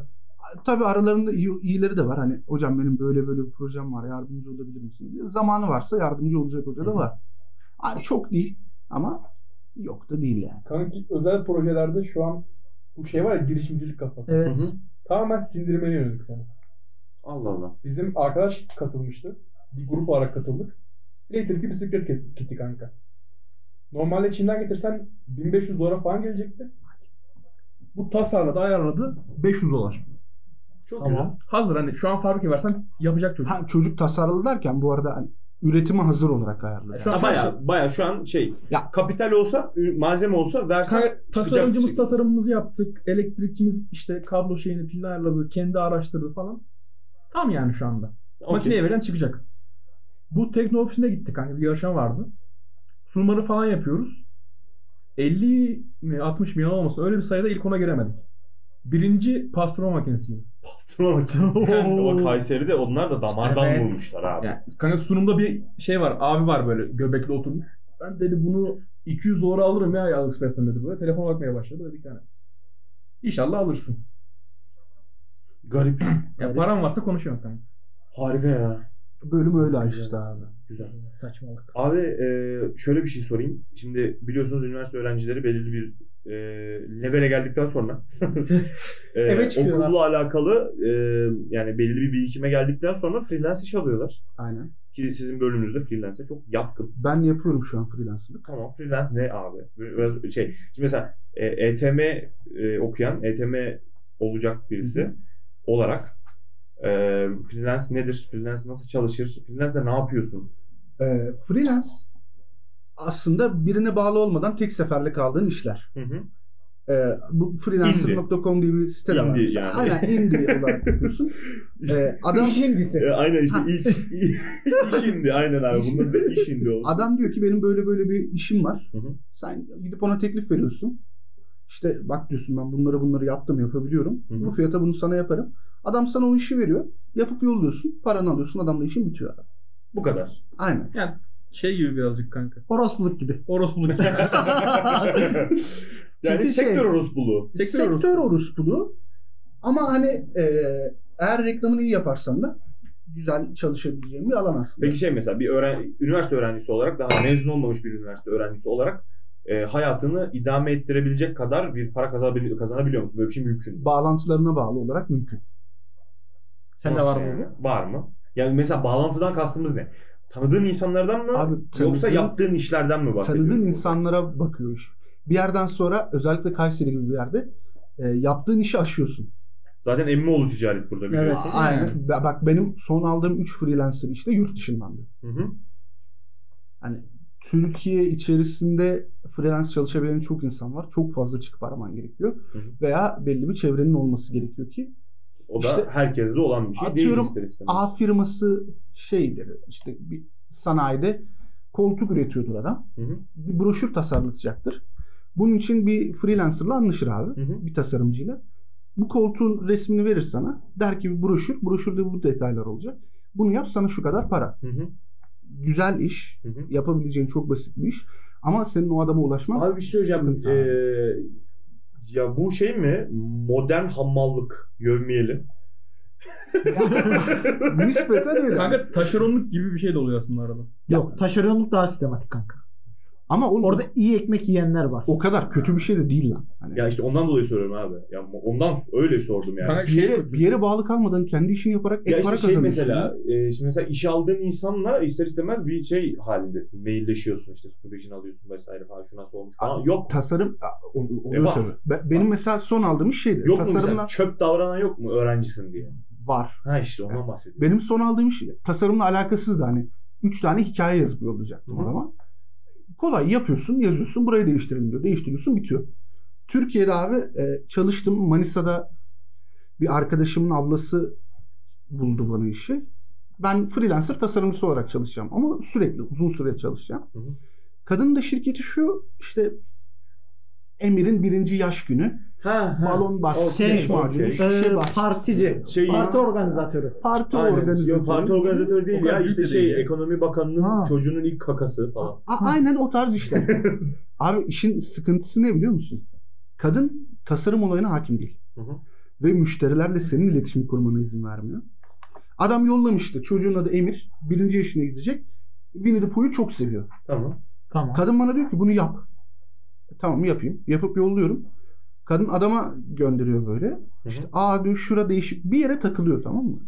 Tabii aralarında iyi- iyileri de var. Hani hocam benim böyle böyle bir projem var. Yardımcı olabilir misin? diye. Zamanı varsa yardımcı olacak hoca
Hı
da
hı.
var. Hani çok değil ama yok da değil yani.
Kanki özel projelerde şu an bu şey var ya girişimcilik kafası.
Evet.
Hı hı.
Tamamen sindirmeye yönelik sana.
Allah Allah.
Bizim arkadaş katılmıştı. Bir grup olarak katıldık. Elektrikli bisiklet get- gitti kanka. Normalde Çin'den getirsen 1500 dolara falan gelecekti. Bu tasarladı, ayarladı. 500 dolar. Çok
Tamam.
güzel. Hazır hani şu an fabrika versen yapacak çocuk.
Ha, çocuk tasarlı derken bu arada hani, üretime hazır olarak ayarlı.
Şu an-
Ha, baya baya şu an şey
Ya.
kapital olsa ü- malzeme olsa versen
Kanka, tasarımcımız
çıkacak. şey.
tasarımımızı yaptık. Elektrikçimiz işte kablo şeyini pilini ayarladı. Kendi araştırdı falan. Tam yani şu anda.
Okey.
Makineye veren çıkacak. Bu tekno ofisine gittik kanka. Bir yarışma vardı. Sunumları falan yapıyoruz. 50 mi 60 mi yalan olmasın öyle bir sayıda ilk ona giremedik. Birinci pastırma makinesiydi.
Pastırma makinesi. (laughs) o Kayseri'de onlar da damardan
Evet.
vurmuşlar abi.
Yani kanka sunumda bir şey var. Abi var böyle göbekli oturmuş. Ben dedi bunu 200 doğru alırım ya AliExpress'ten dedi böyle. Telefona bakmaya başladı dedik yani. İnşallah alırsın.
Garip.
Ya param varsa konuşuyorum kanka.
Harika ya.
Bölüm öyle işte abi.
Güzel.
Saçmalık.
Abi e, şöyle bir şey sorayım. Şimdi biliyorsunuz üniversite öğrencileri belirli bir e, levele geldikten sonra e,
Eve çıkıyorlar.
okulla alakalı e, yani belli bir birikime geldikten sonra freelance iş alıyorlar.
Aynen.
Ki sizin bölümünüzde freelance'e çok yatkın.
Ben yapıyorum şu an freelancerlık.
Tamam freelance ne abi? Biraz şey şimdi mesela e, ETM e, okuyan ETM olacak birisi olarak e, freelance nedir? Freelance nasıl çalışır? Freelance'de ne yapıyorsun?
Ee, freelance aslında birine bağlı olmadan tek seferlik aldığın işler.
Hı hı.
Ee, bu freelancer.com diye bir site de var.
İndi yani. (laughs)
Aynen indie olarak yapıyorsun. Ee, adam
İşincisi.
E, aynen işte
Ha.
ilk,
(laughs)
iş indi aynen abi. Bunun da iş indi oldu.
adam diyor ki benim böyle böyle bir işim var.
Hı hı.
Sen gidip ona teklif veriyorsun. İşte bak diyorsun ben bunları bunları yaptım yapabiliyorum.
Hı hı.
Bu fiyata bunu sana yaparım. Adam sana o işi veriyor. Yapıp yolluyorsun. Paranı alıyorsun. Adamla işin bitiyor.
Bu
(laughs)
kadar.
Aynen.
Şey gibi birazcık kanka.
Orospuluk gibi.
Orospuluk.
yani
Çünkü şey-
sektör orospuluğu.
Sektör
Sektör, orospuluğu. Ama hani e, eğer reklamını iyi yaparsan da güzel çalışabileceğin bir alan aslında.
Peki şey mesela bir öğren üniversite öğrencisi olarak daha mezun olmamış bir üniversite öğrencisi olarak e, hayatını idame ettirebilecek kadar bir para kazanabili- kazanabiliyor musun? Böyle bir şey mümkün mü?
Bağlantılarına bağlı olarak mümkün.
Sen de
Nasıl
var mı?
yani?
öyle?
Var mı? Yani mesela bağlantıdan kastımız ne? Tanıdığın insanlardan mı?
Abi,
yoksa
tanıdığın-
yaptığın işlerden mi bahsediyorsun?
Tanıdığın
burada?
insanlara bakıyoruz. Bir yerden sonra özellikle Kayseri gibi bir yerde e, yaptığın işi aşıyorsun.
Zaten emmioğlu ticaret burada biliyorsun.
Evet.
Aynen. Ba- Bak benim son aldığım 3 freelancer işte yurt dışındandı.
Hı hı.
Hani Türkiye içerisinde freelance çalışabilen çok insan var. Çok fazla çıkıp araman gerekiyor.
Hı hı.
Veya belli bir çevrenin olması gerekiyor ki
O da
İşte-
herkeste olan bir şey
Atıyorum,
değil ister istemez.
A firması şeydir işte bir sanayide koltuk üretiyordur adam.
Hı hı.
Bir broşür tasarlatacaktır. Bunun için bir freelancerla anlaşır abi.
Hı hı.
bir tasarımcıyla. Bu koltuğun resmini verir sana. Der ki bir broşür. Broşürde bu detaylar olacak. Bunu yap sana şu kadar para.
Hı hı.
Güzel iş.
Hı hı.
Yapabileceğin çok basit bir iş. Ama senin o adama ulaşman
Abi bir şey hocam.
Sıkıntı
Ee,
abi.
ya bu şey mi? Modern hamallık görmeyelim. (laughs)
nispeten öyle.
Kanka taşeronluk gibi bir şey de oluyor aslında arada.
Yok taşeronluk daha sistematik kanka.
Ama oğlum,
Orada iyi ekmek yiyenler var.
o kadar kötü bir şey de değil lan. Hani
Ya işte ondan dolayı soruyorum abi. Ya ondan öyle sordum yani.
Kanka
bir yere, bir yere bağlı kalmadan kendi işini yaparak ek
şey ya
para
işte şey
kazanıyorsun.
mesela, e, şimdi mesela iş aldığın insanla ister istemez bir şey halindesin. Mailleşiyorsun işte supervision alıyorsun vesaire falan şu nasıl olmuş falan. Yok.
Tasarım Aa, ol- oluyor
E, var.
tabii. Be- Benim mesela son aldığım iş şeydi.
Yok mu
tasarımla
mesela? Çöp davranan yok mu öğrencisin diye?
var.
Ha işte ondan bahsediyorum.
Benim son aldığım iş tasarımla alakasızdı. Hani üç tane hikaye yazıyor olacaktım
Hı hı.
adama. Kolay yapıyorsun, yazıyorsun, burayı değiştirelim diyor. Değiştiriyorsun, bitiyor. Türkiye'de abi e, çalıştım. Manisa'da bir arkadaşımın ablası buldu bana işi. Ben freelancer tasarımcısı olarak çalışacağım ama sürekli uzun süre çalışacağım.
Hı hı.
Kadının da şirketi şu işte Emir'in birinci yaş günü.
Ha, ha.
Balon baskı,
Okey,
diş macunu,
şey okey.
şişe
Ee,
baskı,
partici.
Şey-
parti organizatörü.
parti
Aynen.
organizatörü.
Yok, parti organizatörü değil
O kadar
ya.
büyük
İşte
de
şey
değil.
ekonomi bakanının
Ha.
çocuğunun ilk kakası falan.
A- aynen o tarz işler.
(laughs)
Abi işin sıkıntısı ne biliyor musun? Kadın tasarım olayına hakim değil.
Hı hı.
Ve müşterilerle senin iletişim kurmana izin vermiyor. Adam yollamıştı. Çocuğun adı Emir. Birinci yaşına gidecek. Winnie the Pooh'yu çok seviyor.
Tamam.
Tamam.
Kadın bana diyor ki bunu yap. E, Tamam yapayım. Yapıp yolluyorum. Kadın adama gönderiyor böyle.
Hı hı.
Aa diyor şura değişik. Bir yere takılıyor tamam mı?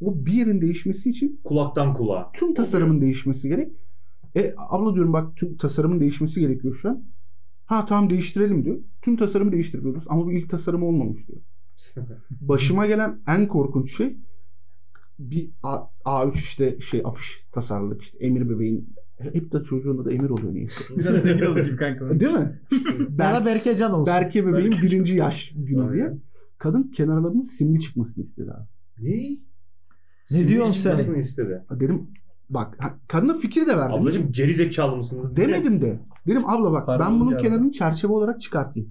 O bir yerin değişmesi için
Kulaktan kulağa.
tüm tasarımın değişmesi gerek. E abla diyorum bak tüm tasarımın değişmesi gerekiyor şu an. Ha tamam değiştirelim diyor. Tüm tasarımı değiştiriyoruz ama bu ilk tasarım olmamış diyor. Başıma gelen en korkunç şey bir A, A3 işte şey apış tasarladık işte Emir bebeğin hep de çocuğun adı Emir oluyor neyse.
(laughs) Biraz zengin olacağım kanka.
E, Değil (laughs) mi?
Bana Berke Can olsun.
Berke bebeğin birinci yaş günü
Aynen.
diye. Kadın kenarlarının simli çıkmasını istedi abi.
Ne?
ne diyorsun sen?
Nasıl istedi?
Dedim bak ha- kadına fikir de verdim.
Ablacım geri zekalı mısınız?
Demedim de. Dedim abla bak
Pardon,
ben bunun
geldi.
kenarını çerçeve olarak çıkartayım.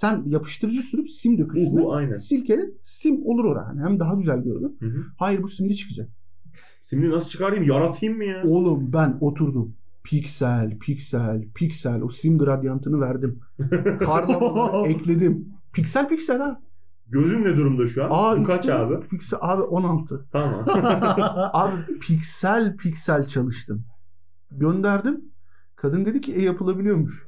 Sen yapıştırıcı sürüp sim dök üstüne.
Bu aynen.
Silkele sim olur orada. Hani hem daha güzel görünür.
Hı hı.
Hayır bu simli çıkacak.
Simini nasıl çıkarayım? Yaratayım mı ya?
Oğlum ben oturdum. Piksel, piksel, piksel. O sim
(laughs)
gradyantını verdim. Karlamaları ekledim. Piksel piksel ha.
Gözüm ne durumda şu an?
Aa,
Bu kaç
işte-
abi?
Piksel abi 16.
Tamam.
(laughs)
Abi piksel piksel çalıştım. Gönderdim. Kadın dedi ki e yapılabiliyormuş.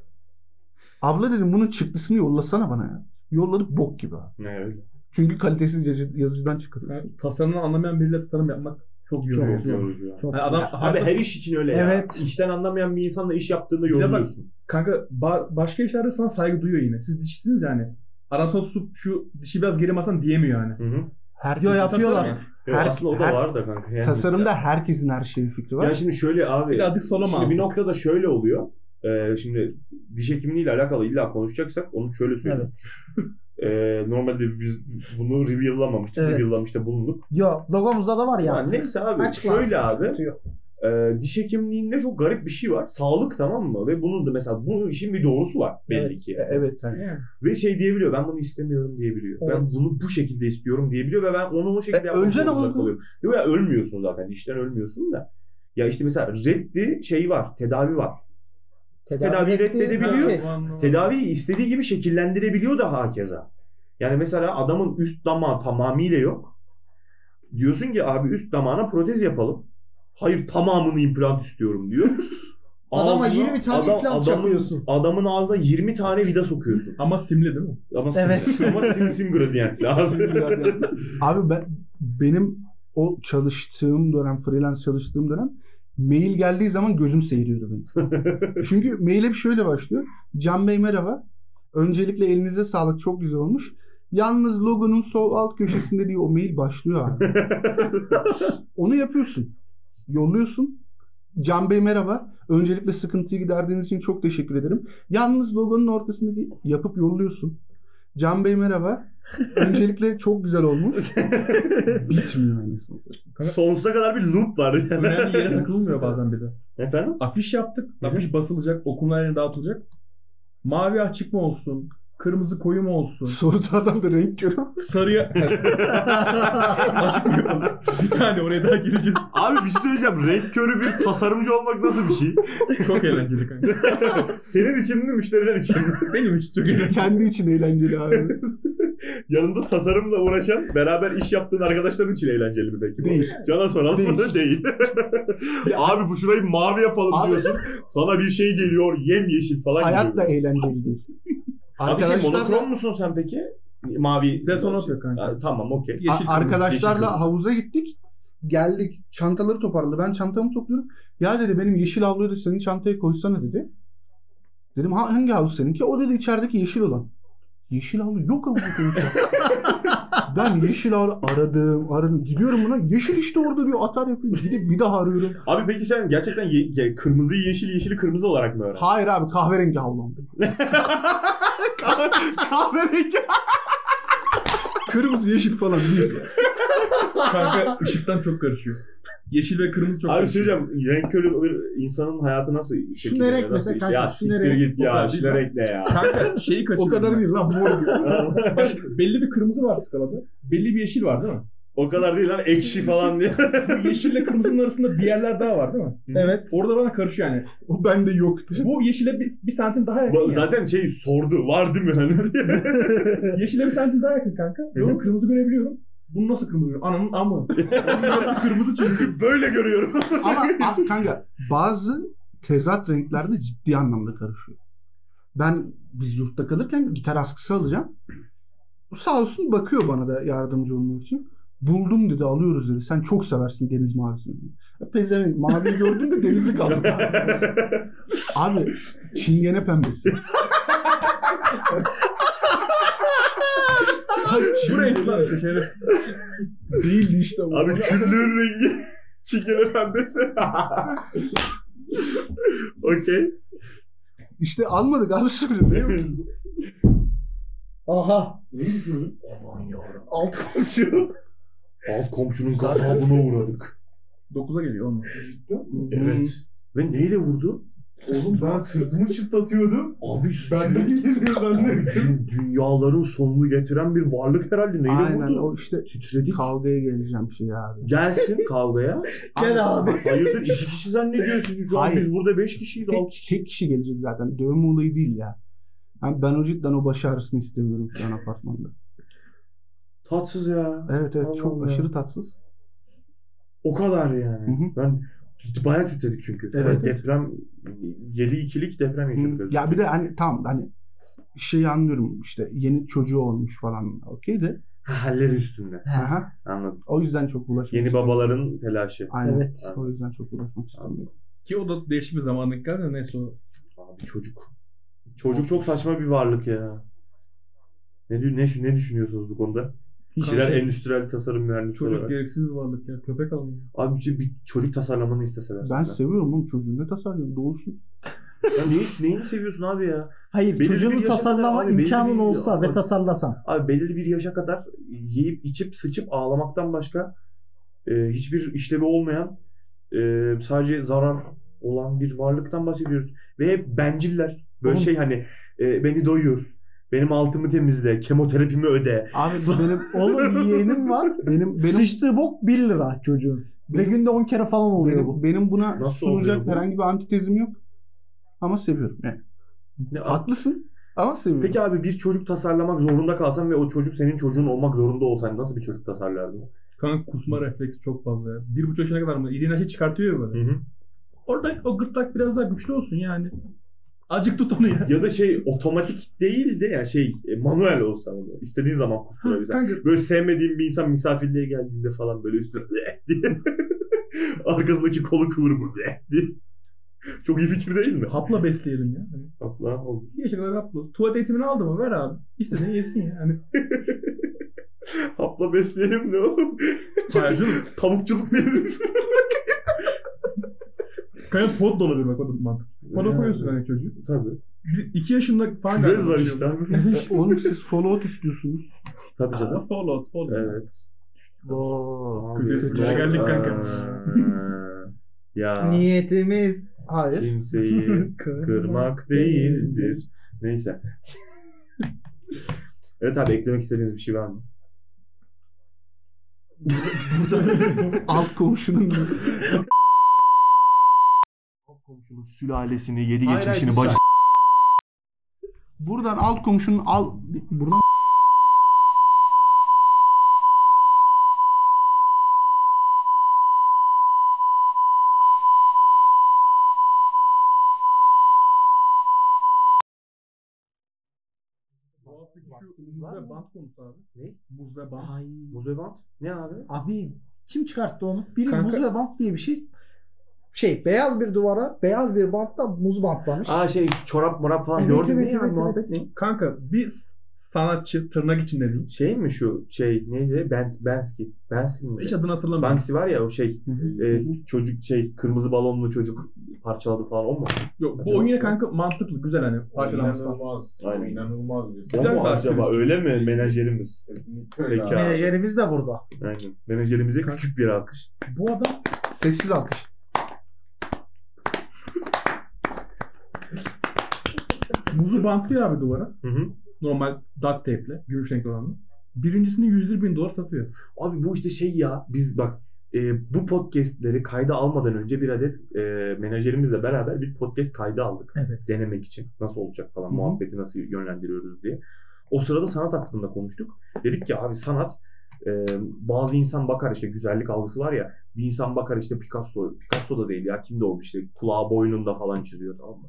Abla dedim bunun çıktısını yollasana bana ya. Yolladık bok gibi abi.
ne öyle?
Çünkü kalitesiz yazı- yazıcıdan çıkarıyor.
Tasarımını anlamayan biriyle tasarım yapmak çok yoruyor.
Çok yorucu ya.
Çok-
Yani adam
Abi her iş için öyle ya.
Evet.
İşten anlamayan bir insanla iş yaptığında
de bak-
yoruluyorsun.
kanka ba- başka işlerde sana saygı duyuyor yine. Siz dişisiniz yani. Arasına tutup şu dişi biraz geri basan diyemiyor yani.
Hı hı.
Her
Yo
Tasarım
yapıyorlar.
Yok,
Her-
aslında o da
her-
var da kanka. Yani.
Tasarımda herkesin her şeyi fikri var.
Ya şimdi şöyle abi.
Birazcık solama
Şimdi bir
aldık.
noktada şöyle oluyor. Ee, şimdi diş hekimliğiyle alakalı illa konuşacaksak onu şöyle söyleyeyim. (laughs) Ee, normalde biz bunu reveal'lamamıştık.
Evet.
Reveal'lamışta bulunduk.
Yo logomuzda da var ya.
Yani neyse abi.
Açıklansın.
Şöyle abi.
Sıkıntı yok.
e, diş hekimliğinde çok garip bir şey var. Sağlık tamam mı? Ve bunun da mesela bu işin bir doğrusu var belli
E,
ki.
Evet.
Ve şey diyebiliyor. Ben bunu istemiyorum diyebiliyor. Ben
Evet.
bunu bu şekilde istiyorum diyebiliyor ve ben onu o şekilde
E,
yapmak
önce ne
zorunda
oldu?
kalıyorum. Yok ya ölmüyorsun zaten. Dişten ölmüyorsun da. Ya işte mesela reddi şey var. Tedavi var. Tedavi
etti,
reddedebiliyor.
belki.
Tedaviyi istediği gibi şekillendirebiliyor da hakeza. Yani mesela adamın üst damağı tamamıyla yok. Diyorsun ki abi üst damağına protez yapalım. Hayır tamamını implant istiyorum diyor.
(laughs) Adama
Ağzına-
20 tane implant çakıyorsun.
Adamın ağzına 20 tane vida sokuyorsun.
Ama simli değil mi?
Ama
Evet.
sim, ama sim, sim gradiyentli
(laughs)
abi.
Abi ben benim o çalıştığım dönem, freelance çalıştığım dönem mail geldiği zaman gözüm seyiriyordu benim. Çünkü mail hep şöyle başlıyor. Can Bey merhaba. Öncelikle elinize sağlık. Çok güzel olmuş. Yalnız logonun sol alt köşesinde diye o mail başlıyor abi. Onu yapıyorsun. Yolluyorsun. Can Bey merhaba. Öncelikle sıkıntıyı giderdiğiniz için çok teşekkür ederim. Yalnız logonun ortasındaki yapıp yolluyorsun. Can Bey merhaba. Öncelikle çok güzel olmuş. Bitmiyor yani.
Sonsuza kadar bir loop var.
Önemli yere takılmıyor bazen bir de.
Efendim?
Afiş yaptık. Afiş basılacak. Okumlar yerine dağıtılacak. Mavi açık mı olsun? Kırmızı koyu mu olsun?
Soruda adam da renk
(laughs)
görüyor.
Sarıya... bir tane oraya daha gireceğiz.
Abi bir şey söyleyeceğim. Renk körü bir tasarımcı olmak nasıl bir şey?
Çok eğlenceli kanka.
Senin için mi müşteriler için mi?
Benim için çok eğlenceli.
Kendi için eğlenceli abi.
Yanında tasarımla uğraşan, beraber iş yaptığın arkadaşların için eğlenceli mi peki? bu?
Değil.
Cana soran
Değil.
değil. değil.
Abi bu şurayı mavi yapalım
Abi-
diyorsun.
Sana bir şey geliyor, yemyeşil falan
Hayat da
geliyor.
eğlenceli değil.
Abi şey monokrom
Arkadaşlarla,
musun sen peki? Mavi.
Detonat yok
şey.
kanka.
Ha, tamam okey.
Yeşil
A- arkadaşlarla
yeşil
havuza gittik. Geldik. Çantaları toparladı. Ben çantamı topluyorum. Ya dedi benim yeşil havluyu da senin çantaya koysana dedi. Dedim "Ha, hangi havlu seninki? O dedi içerideki yeşil olan. Yeşil havlu yok ama. (laughs) ben yeşil havlu aradım aradım. Gidiyorum buna. Yeşil işte orada diyor atar yapıyor. Gidip bir daha arıyorum.
Abi peki sen gerçekten ye- ye- kırmızıyı yeşil, yeşili kırmızı olarak mı öğrendin?
Hayır abi kahverengi havlu. (laughs)
Kahverengi.
Kırmızı yeşil falan değil.
Kanka ışıktan çok karışıyor. Yeşil ve kırmızı çok
Abi
karışıyor.
söyleyeceğim renk körü bir insanın hayatı nasıl şekilleniyor?
renk
nasıl
mesela
işte?
kanka,
Ya
şuna
siktir
renk,
git ya,
kadar değil
şuna
mi?
renk ne ya?
Kanka (laughs) şeyi kaçırıyorum.
o kadar değil lan mor diyor.
Bak, belli bir kırmızı var skalada. Belli bir yeşil var değil mi?
o kadar değil lan ekşi falan diye.
Bu yeşille kırmızının arasında bir yerler daha var değil mi?
Evet.
Orada bana karışıyor yani.
O bende yok.
Bu yeşile bir, bir santim daha yakın
Ba-
ya.
Zaten şey sordu var değil mi hani diye.
Yeşile bir santim daha yakın kanka. Ben onu kırmızı görebiliyorum. Bunu nasıl kırmızı görüyorum? Ananın amı. Onun yarısı kırmızı çünkü.
Böyle görüyorum.
Ama abi kanka bazı tezat renklerde ciddi anlamda karışıyor. Ben biz yurtta kalırken gitar askısı alacağım. Sağ olsun bakıyor bana da yardımcı olmak için. Buldum dedi alıyoruz dedi. Sen çok seversin deniz mavisini. dedi. Ya Pezevenk maviyi gördün de denizi kaldı. (laughs) Abi çingene pembesi.
Buraya git lan işte
şey
şeref.
Değildi işte bu.
Abi küllüğün rengi çingene pembesi. (laughs) Okey.
İşte almadık abi sürü değil
(laughs)
mi?
Aha.
Neyi düşürdün? Aman yavrum. Alt komşu. Alt komşunun gazabına uğradık.
9'a geliyor olmaz.
Hmm.
Evet. Ve neyle vurdu?
Oğlum ben sırtımı çıtlatıyordum.
Abi
Ben de geliyor
Abi,
zannettim.
dü- dünyaların sonunu getiren bir varlık herhalde. Neyle
Aynen
vurdu?
o işte
Titredik.
kavgaya geleceğim şey abi. (laughs)
Gelsin kavgaya.
Gel
abi. Hayırdır iki kişi zannediyorsunuz şu an
Hayır.
biz burada beş kişiyiz.
Tek,
Alt.
tek kişi gelecek zaten. Dövme olayı değil ya. Yani ben o cidden o baş ağrısını istemiyorum şu an apartmanda.
Tatsız ya.
Evet evet
Allah
çok
Allah.
aşırı tatsız.
O kadar yani.
Hı hı.
Ben bayağı titredik çünkü.
Evet.
Deprem 7 ikilik deprem
Hı.
yaşadık.
Ya bir de hani tam hani şeyi anlıyorum işte yeni çocuğu olmuş falan okey de.
Ha, haller üstünde.
Aha.
Anladım.
O yüzden çok bulaşmak
Yeni
istemiyorum.
babaların telaşı.
Aynen.
Evet.
O yüzden çok uğraşmak istemiyorum.
Ki o da değişik bir zamanlık geldi. de Neyse o.
Abi çocuk. Çocuk çok saçma bir varlık ya. Ne diyor- ne ne düşünüyorsunuz bu konuda?
şey.
şey.
Birer endüstriyel tasarım mühendisi
Çocuk
olarak.
gereksiz bir varlık ya. Köpek alıyor.
Abi bir- bir çocuk tasarlamanı isteseler.
Ben
senden.
seviyorum oğlum çocuğu ne tasarlıyorum doğursun.
Ya neyi, neyini seviyorsun abi ya?
Hayır
Belirli bir
çocuğunu
yaşında
tasarlama
abi, belirli
imkanın
bir-
olsa ve
Abi-
tasarlasan.
Abi belirli bir yaşa kadar yiyip içip sıçıp ağlamaktan başka e, hiçbir işlevi olmayan e, sadece zarar olan bir varlıktan bahsediyoruz. Ve hep benciller. Böyle
Oğlum.
şey hani e, beni doyur. Benim altımı temizle. Kemoterapimi öde.
Abi benim
Oğlum bir
(laughs)
yeğenim var.
benim benim
Sıçtığı bok 1 lira çocuğun. Ve günde 10 kere falan oluyor
(laughs)
bu.
benim, benim buna
Nasıl oluyor
sunacak
bu?
herhangi bir antitezim yok. Ama seviyorum. Yani
Ne-
haklısın ama seviyorum. (laughs)
Peki abi bir çocuk tasarlamak zorunda kalsan ve o çocuk senin çocuğun olmak zorunda olsan nasıl bir çocuk tasarlardın?
Kanka kusma refleksi çok fazla ya. Bir buçuk yaşına kadar mı? İliğini açıp çıkartıyor ya
Hı
böyle.
hı.
Orada o gırtlak biraz daha güçlü olsun yani. Acık tut onu ya.
Ya da şey otomatik değil de yani şey e, manuel olsa onu. İstediğin zaman kusturabilirsin.
Kanka
Böyle sevmediğin bir insan misafirliğe geldiğinde falan böyle üstüne (laughs) "Eh!" diye. Arkasındaki kolu kıvırıp "Eh!" diye. (laughs) Çok iyi fikir değil mi?
hapla besleyelim ya. Hani
Hapla oldu.
bir yaşa kadar hapla. Tuvalet eğitimini aldı mı? Ver abi. İstediğini yesin ya. Hani
Hapla besleyelim ne oğlum?
hayırcılık.
(laughs) Tavukçuluk veririz.
Kanka pot da olabilir bak o da mantık. Poda koyuyorsun hani çocuğu.
Tabii.
İki yaşında falan şey
Küvez var
başlıyor.
işte abi.
Oğlum siz follow istiyorsunuz.
(laughs) Tabii
Aa,
canım.
Follow, follow.
Evet. Doğru.
Kötü espriye geldik kanka.
(laughs) ya.
Niyetimiz hayır. (laughs)
Kimseyi kırmak değildir. Neyse. Evet abi eklemek istediğiniz bir şey var mı?
(laughs) Alt komşunun
Komşunun sülalesini, yedi
Hayır, hayır,
geçmişini,
bir
bacı...
buradan alt komşunun al buradan
Bu haftaki şu muz ve bant konusu abi.
Ne?
Muz ve bant.
Ay.
Muzevant? Ne abi?
Abi kim çıkarttı onu? Biri
Kanka-
muz ve bant diye bir şey. Şey beyaz bir duvara beyaz bir bantla muz bantlamış.
Aa şey çorap morap falan
Evet,
gördün mü
evet,
ya
evet,
muhabbet ne?
Kanka bir sanatçı tırnak içinde diyeyim.
Şey mi şu şey neydi? Ben, Benski. Benski mi?
Hiç adını hatırlamıyorum.
Banksy var ya o şey e, çocuk şey kırmızı balonlu çocuk parçaladı falan o mu?
Yok bu oyun yine kanka mantıklı güzel hani parçalanması falan.
İnanılmaz.
Aynen.
İnanılmaz bir
O
Güzel
mu
bir
acaba
aktivist.
öyle mi menajerimiz?
Kesinlikle.
Peki
öyle
abi.
abi.
Menajerimiz de burada.
Aynen. Menajerimize küçük bir alkış.
Bu adam
sessiz alkış.
muzu bantlıyor abi duvara.
Hı hı.
Normal duct tape'le. Gümüş renkli olanla. Birincisini 120 bin dolar satıyor.
Abi bu işte şey ya biz bak e, bu podcastleri kayda almadan önce bir adet e, menajerimizle beraber bir podcast kaydı aldık.
Evet.
Denemek için nasıl olacak falan
Hı hı.
muhabbeti nasıl yönlendiriyoruz diye. O sırada sanat hakkında konuştuk. Dedik ki abi sanat e, bazı insan bakar işte güzellik algısı var ya bir insan bakar işte Picasso Picasso da değil ya kimde olmuş işte kulağı boynunda falan çiziyor tamam mı?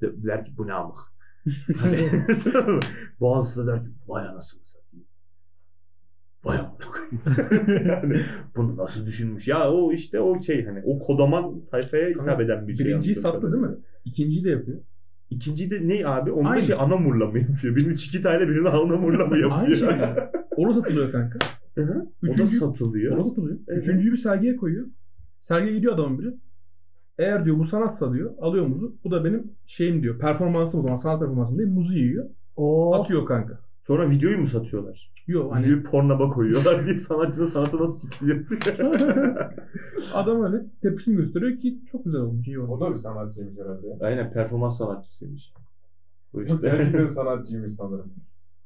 Dediler ki bu ne ama. Bazısı da der ki vay anasını satayım. Vay (laughs) amk. yani bunu nasıl düşünmüş? Ya o işte o şey hani o kodaman tayfaya hitap
Kanka,
eden bir şey.
Birinciyi
anladığım
sattı değil mi? İkinciyi de yapıyor.
İkinci de ne abi? Onda
Aynı.
şey anamurla mı yapıyor? Birini çikitayla birini anamurla mı yapıyor?
Aynı şey. Ona satılıyor kanka.
Hı hı. O da
Üçüncü-
satılıyor.
Ona satılıyor.
Evet.
Üçüncüyü bir sergiye koyuyor. Sergiye gidiyor adamın biri. Eğer diyor bu sanatsa diyor alıyor muzu. Bu da benim şeyim diyor. Performansım o zaman sanat performansım değil. Muzu yiyor.
Oo.
Atıyor kanka.
Sonra videoyu mu satıyorlar?
Yok hani
Videoyu pornaba koyuyorlar diye sanatçının sanatı nasıl sikilir?
adam öyle tepkisini gösteriyor ki çok güzel olmuş. iyi
O
olmuş.
da bir sanatçıymış herhalde.
(laughs)
ya.
(laughs) Aynen performans sanatçısıymış. Bu
Yok,
işte.
Gerçekten sanatçıymış sanırım.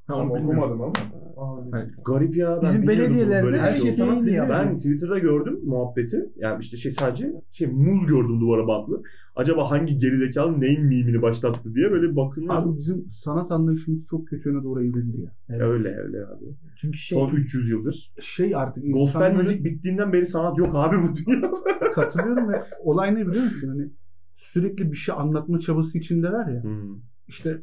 Ha,
Tam
onu bilmiyorum.
okumadım ama.
(laughs) Garip ya. Ben
Bizim
bilmiyordum
belediyelerde
böyle bir
her
şey
şey
olduğunu.
sanat
Ben-
deniyor.
Ben Twitter'da gördüm muhabbeti. Yani işte şey sadece şey muz gördüm duvara bantlı. Acaba hangi gerizekalı neyin mimini başlattı diye böyle bakınlar.
Abi bizim sanat anlayışımız çok kötü yöne doğru evrildi ya.
Öyle öyle abi.
Çünkü şey
Son 300 yıldır.
Şey artık
Gospel
insanların
müzik bittiğinden beri sanat yok abi bu dünya.
katılıyorum ve olay ne biliyor musun? Hani sürekli bir şey anlatma çabası içindeler ya.
Hmm.
İşte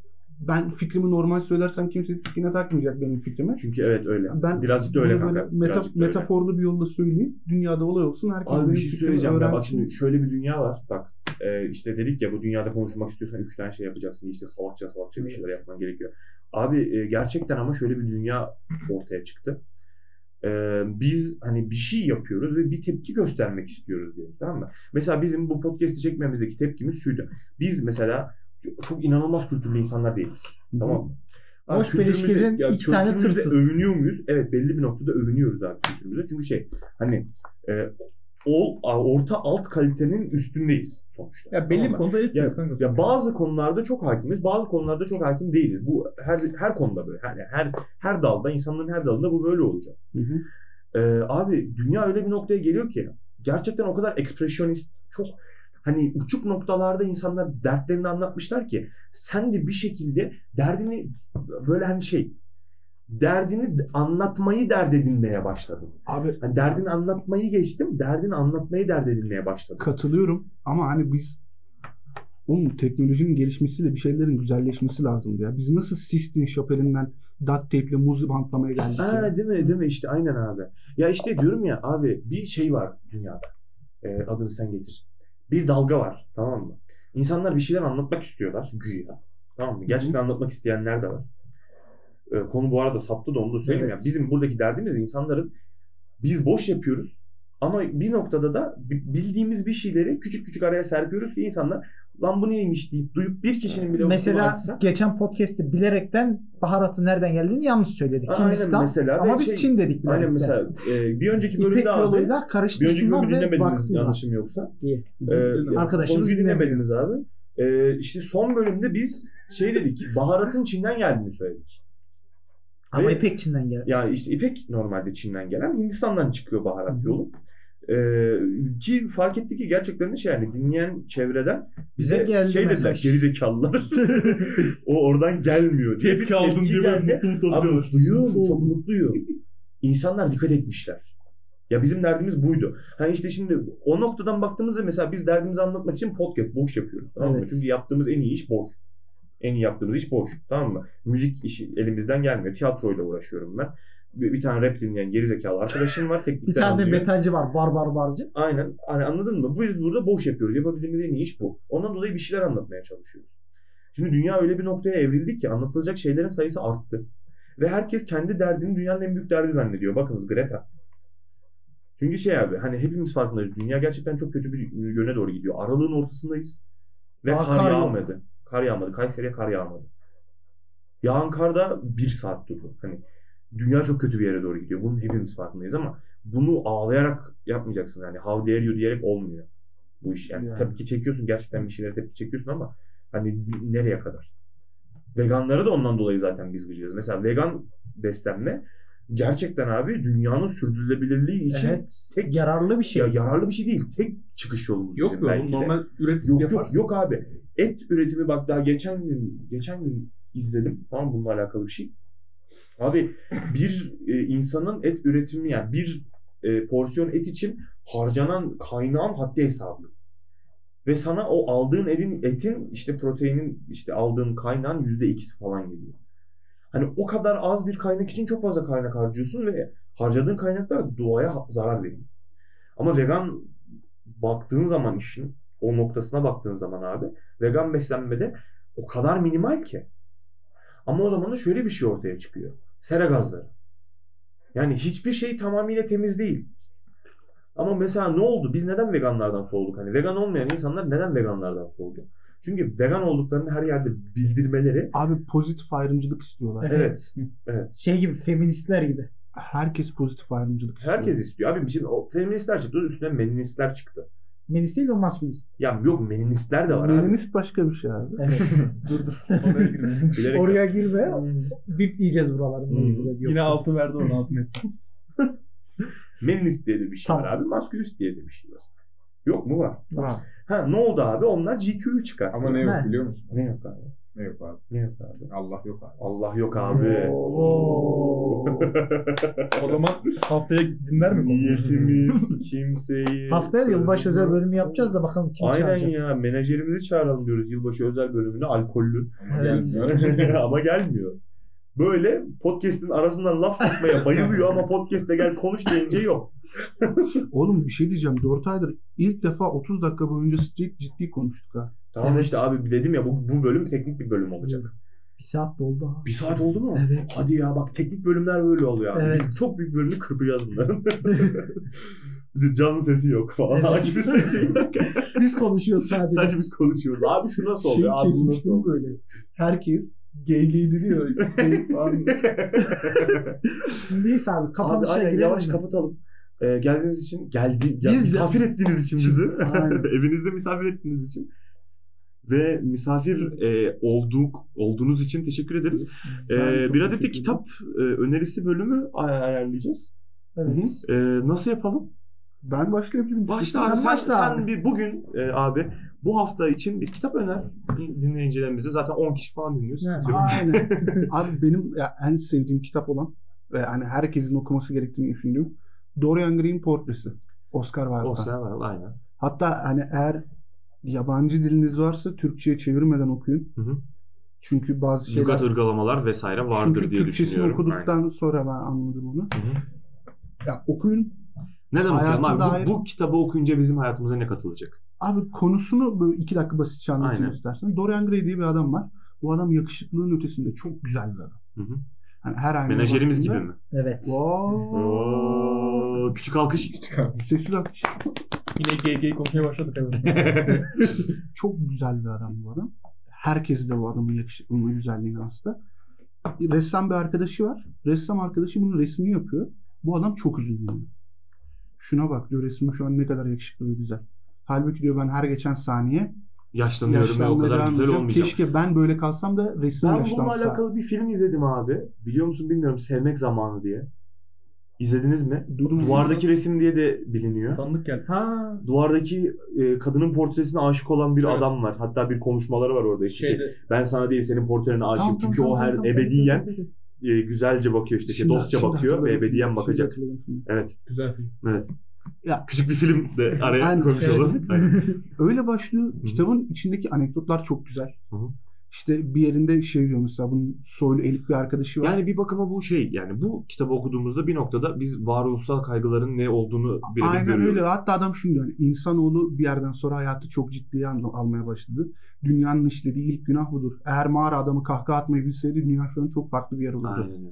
ben fikrimi normal söylersem kimse fikrine takmayacak benim fikrimi.
Çünkü evet öyle.
Ben
Birazcık da öyle
bunu
kanka.
böyle meta-
Birazcık da öyle.
metaforlu bir yolla söyleyeyim. Dünyada olay olsun. Herkes
Abi bir
benim
şey
fikrimi
söyleyeceğim ya. Bak
öğrensin.
şimdi şöyle bir dünya var. Bak e, işte dedik ya bu dünyada konuşmak istiyorsan üç tane şey yapacaksın. İşte salakça salakça bir şeyler yapman gerekiyor. Abi e, gerçekten ama şöyle bir dünya ortaya çıktı. E, biz hani bir şey yapıyoruz ve bir tepki göstermek istiyoruz diyelim tamam mı? Mesela bizim bu podcast'i çekmemizdeki tepkimiz şuydu. Biz mesela çok inanılmaz kültürlü insanlar değiliz. Tamam mı? Abi
Boş
kültürümüzde-
beleşkerin
ya
iki tane
kültürümüzde
tırtıs.
Övünüyor muyuz? Evet belli bir noktada övünüyoruz abi kültürümüzde. Çünkü şey hani e, o a- orta alt kalitenin üstündeyiz sonuçta.
Ya belli
Tamam
bir
mı?
konuda etkisiz kanka.
ya bazı konularda çok hakimiz, bazı konularda çok hakim değiliz. Bu her her konuda böyle. Her her her dalda, insanların her dalında bu böyle olacak.
Hı hı.
E, abi dünya öyle bir noktaya geliyor ki gerçekten o kadar ekspresyonist, çok hani uçuk noktalarda insanlar dertlerini anlatmışlar ki sen de bir şekilde derdini böyle hani şey derdini anlatmayı dert edinmeye başladın.
Abi
Hani derdini anlatmayı geçtim, derdini anlatmayı dert edinmeye başladım.
katılıyorum ama hani biz oğlum teknolojinin gelişmesiyle bir şeylerin güzelleşmesi lazım ya. Biz nasıl Sistine Şapeli'nden duct tape'le muzu bantlamaya geldik ya.
Aa, değil mi? Değil mi? İşte aynen abi. Ya işte diyorum ya abi bir şey var dünyada. Ee, adını sen getir. Bir dalga var. Tamam mı? İnsanlar bir şeyler anlatmak istiyorlar. Güya. Tamam mı? Gerçekten anlatmak isteyenler de var. Ee, konu bu arada saptı da onu da söyleyeyim. ya. bizim buradaki derdimiz insanların biz boş yapıyoruz ama bir noktada da bi- bildiğimiz bir şeyleri küçük küçük araya serpiyoruz ki insanlar lan bu neymiş deyip duyup bir kişinin bile
mesela
bunu açsa-
geçen podcast'te bilerekten baharatın nereden geldiğini yanlış söyledik.
Aynen
Hindistan.
mesela.
Ama
Ve
biz
şey-
Çin dedik.
Aynen
bilerekten.
mesela e, bir önceki
İpek
bölümde abi
yoluyla
bir önceki
karıştırsınlar
bölümü
ve
dinlemediniz
baksınlar.
yanlışım yoksa.
diye.
Ee,
Arkadaşımız
sonucu dinlemediniz abi. Ee, işte son bölümde biz şey dedik, baharatın Çin'den geldiğini söyledik.
Ama
Ve-
İpek Çin'den geldi.
Ya işte ipek normalde Çin'den gelen, Hindistan'dan çıkıyor baharat yolu. Ee, ki fark ettik ki gerçekten de şey yani dinleyen çevreden bize
Bize geldi
şey dediler
mesaj. (laughs)
gerizekalılar. (laughs) o oradan gelmiyor diye bir
Tepki aldım diye böyle
geldi.
mutlu mutlu
Abi
oturuyorlar.
mutluyum, çok mutluyum. İnsanlar dikkat etmişler. Ya bizim derdimiz buydu. Hani işte şimdi o noktadan baktığımızda mesela biz derdimizi anlatmak için podcast boş yapıyoruz. Tamam mı?
Evet.
Çünkü yaptığımız en iyi iş boş. En iyi yaptığımız iş boş. Tamam mı? Müzik işi elimizden gelmiyor. Tiyatroyla uğraşıyorum ben. Bir, bir tane rap dinleyen gerizekalı arkadaşım var. Teknikten
Bir tane de
anlıyor.
metalci var. Barbar barcı.
Aynen. Hani anladın mı? Biz burada boş yapıyoruz. Yapabildiğimiz en iyi iş bu. Ondan dolayı bir şeyler anlatmaya çalışıyoruz. Şimdi dünya öyle bir noktaya evrildi ki anlatılacak şeylerin sayısı arttı. Ve herkes kendi derdini dünyanın en büyük derdi zannediyor. Bakınız Greta. Çünkü şey abi hani hepimiz farkındayız. Dünya gerçekten çok kötü bir yöne doğru gidiyor. Aralığın ortasındayız. Ve
Daha
kar,
kar yok.
yağmadı. Kar yağmadı. Kayseri'ye kar yağmadı. Yağan kar da bir saat durdu. Hani dünya çok kötü bir yere doğru gidiyor. Bunun hepimiz farkındayız ama bunu ağlayarak yapmayacaksın. Yani how dare you diyerek olmuyor bu iş. Yani,
Yani.
tepki çekiyorsun. Gerçekten bir şeylere tepki çekiyorsun ama hani nereye kadar? Veganlara da ondan dolayı zaten biz gıcığız. Mesela vegan beslenme gerçekten abi dünyanın sürdürülebilirliği için
Evet.
tek
Yararlı bir şey.
ya yararlı bir şey değil. Tek çıkış yolumuz
Yok
bizim
be
belki
oğlum
de.
normal üretim
Yok
yaparsın.
yok yok abi. Et üretimi bak daha geçen gün geçen gün izledim. Tamam bununla alakalı bir şey. Abi bir e, insanın et üretimi yani bir e, porsiyon et için harcanan kaynağın haddi hesabı. yok. Ve sana o aldığın etin etin işte proteinin işte aldığın kaynağın yüzde ikisi falan geliyor. Hani o kadar az bir kaynak için çok fazla kaynak harcıyorsun ve harcadığın kaynaklar doğaya ha- zarar veriyor. Ama vegan baktığın zaman işin o noktasına baktığın zaman abi vegan beslenmede o kadar minimal ki. Ama o zaman da şöyle bir şey ortaya çıkıyor. Sera gazları. Yani hiçbir şey tamamıyla temiz değil. Ama mesela ne oldu? Biz neden veganlardan soğuduk? Hani vegan olmayan insanlar neden veganlardan soğudu? Çünkü vegan olduklarını her yerde bildirmeleri
Abi pozitif ayrımcılık istiyorlar.
evet. Evet.
Şey gibi feministler gibi.
Herkes pozitif ayrımcılık istiyor.
Herkes istiyor. Abi şimdi o feministler çıktı. Üstüne meninistler çıktı.
Feminist değil
(laughs)
de maskulist.
Ya yok meninistler de var abi.
Meninist başka bir şey abi.
Evet.
Dur dur.
(laughs)
Onlara girmeyelim.
Bilerek
Oraya girme. Bip diyeceğiz buraları.
Hmm.
mecbur ediyor.
Yine altı verdi onu altı net.
Meninist diye de bir şey var
Tamam.
abi. Maskülist diye de bir şey var. Yok mu var?
Var.
Ha ne oldu abi? Onlar GQ'yu çıkar.
Ama ne
Ha.
yok biliyor musun?
Ne yok abi?
Ne yok abi?
Ne yok abi?
Allah yok abi.
Allah yok abi.
Oo.
O zaman haftaya dinler mi? konuyu?
(laughs)
Niyetimiz kimseyi...
Haftaya da yılbaşı özel bölümü yapacağız da bakalım kim
Aynen
çağıracak.
ya. Menajerimizi çağıralım diyoruz yılbaşı özel
(laughs)
bölümüne alkollü.
Ama
Evet.
gelmiyor.
ama gelmiyor. Böyle podcast'in arasından laf atmaya bayılıyor ama podcast'te gel konuş deyince yok.
Oğlum bir şey diyeceğim. 4 aydır ilk defa 30 dakika boyunca ciddi, ciddi konuştuk ha.
Tamam işte abi dedim ya bu, bu bölüm teknik bir bölüm olacak.
Bir saat doldu ha.
Bir saat oldu mu?
Evet.
Hadi ya bak teknik bölümler böyle oluyor abi.
Evet.
Biz çok büyük bölümü kırpacağız bunların. (laughs) Bir de Canlı sesi yok falan.
Evet.
Hakim sesi yok.
Biz konuşuyoruz sadece.
Sadece biz konuşuyoruz. Abi şu nasıl
Şey
oluyor? Abi bu
(laughs)
nasıl
kesmiştim
oluyor?
böyle. Herkes gay gay diyor. Gay falan.
Neyse abi
Abi
kapanışa
aynen
şey, girelim.
yavaş
mi?
kapatalım. Ee, geldiğiniz için, geldi, ya,
Biz de-
misafir ettiğiniz için bizi, (laughs)
Aynen.
evinizde misafir ettiğiniz için ve misafir e, olduk olduğunuz için teşekkür ederiz. Ee,
Ben çok
bir adet de
teşekkür
kitap e, önerisi bölümü ay- ayarlayacağız.
Evet.
Ee, nasıl yapalım?
Ben başlayabilirim.
Başla abi.
Sen
Sen,
başla
sen
abi.
bir bugün e, abi bu hafta için bir kitap öner dinleyicilerimize. Zaten 10 kişi falan dinliyor.
Evet.
sıkıntı yok.
Aynen.
(laughs)
Abi benim ya, en sevdiğim kitap olan ve hani herkesin okuması gerektiğini düşündüğüm Dorian Gray'in Portresi. Oscar Wilde'dan.
Oscar var aynen.
Hatta hani eğer yabancı diliniz varsa Türkçe'ye çevirmeden okuyun.
Hı hı.
Çünkü bazı şeyler...
Lügat ırgalamalar vesaire vardır
Çünkü
diye
Türkçesini
düşünüyorum.
okuduktan sonra ben anladım onu.
Aynen. Hı hı.
Ya okuyun.
Neden okuyalım
Hayatında
abi?
ayrı-
Bu, bu kitabı okuyunca bizim hayatımıza ne katılacak?
Abi konusunu böyle iki dakika basitçe anlatayım
Aynen.
istersen. Dorian Gray diye bir adam var. Bu adam yakışıklılığın ötesinde çok güzel bir adam.
Hı hı.
Hani her aynaya
Menajerimiz gibi
baktığında-
mi?
Evet.
Wow.
Oo, küçük
(laughs)
alkış.
Sessiz alkış.
Yine gay gay konuşmaya başladık. Evet.
Çok güzel bir adam bu adam. Herkes de bu adamın yakışıklılığına, güzelliğine hasta. Ressam bir arkadaşı var. Ressam arkadaşı bunun resmini yapıyor. Bu adam çok üzülüyor. Şuna bak diyor resmi şu an ne kadar yakışıklı ve güzel. Halbuki diyor ben her geçen saniye
Yaşlanıyorum ve o
yaşlanmaya
kadar
devam
güzel
edeceğim.
olmayacağım.
Keşke ben böyle kalsam da resmi
Ben
yaşlansa.
bununla alakalı bir film izledim abi. Biliyor musun bilmiyorum. Sevmek Zamanı diye. İzlediniz mi?
Duydum.
Duvardaki resim diye de biliniyor.
Tanıdık geldi.
Ha.
Duvardaki e, kadının portresine aşık olan bir
Evet.
adam var. Hatta bir konuşmaları var orada işte. şey,
Şeyde,
ben sana değil senin portrene aşığım.
Tamam,
Çünkü
tamam,
o her
tamam, tamam,
ebediyen
tamam, tamam.
e, güzelce bakıyor işte. Şey,
Şimdi-
dostça
şimdi
bakıyor ve
hatırladım.
ebediyen
Şimdi
bakacak.
hatırladım şimdi.
Evet.
güzel film.
Evet.
Ya.
Küçük bir film de araya
Aynen.
konuşalım.
Evet. (laughs) Öyle başlıyor. Kitabın içindeki anekdotlar çok güzel.
Hı hı.
İşte bir yerinde şey diyor mesela bunun soylu elit bir arkadaşı var.
Yani bir bakıma bu şey yani bu kitabı okuduğumuzda bir noktada biz varoluşsal kaygıların ne olduğunu birebir
Aynen
görüyoruz.
öyle. Hatta adam şunu diyor. Hani insanoğlu bir yerden sonra hayatı çok ciddiye al- almaya başladı. Dünyanın işlediği ilk günah budur. Eğer mağara adamı kahkaha atmayı bilseydi dünya şu an çok farklı bir yer olurdu.
Aynen öyle.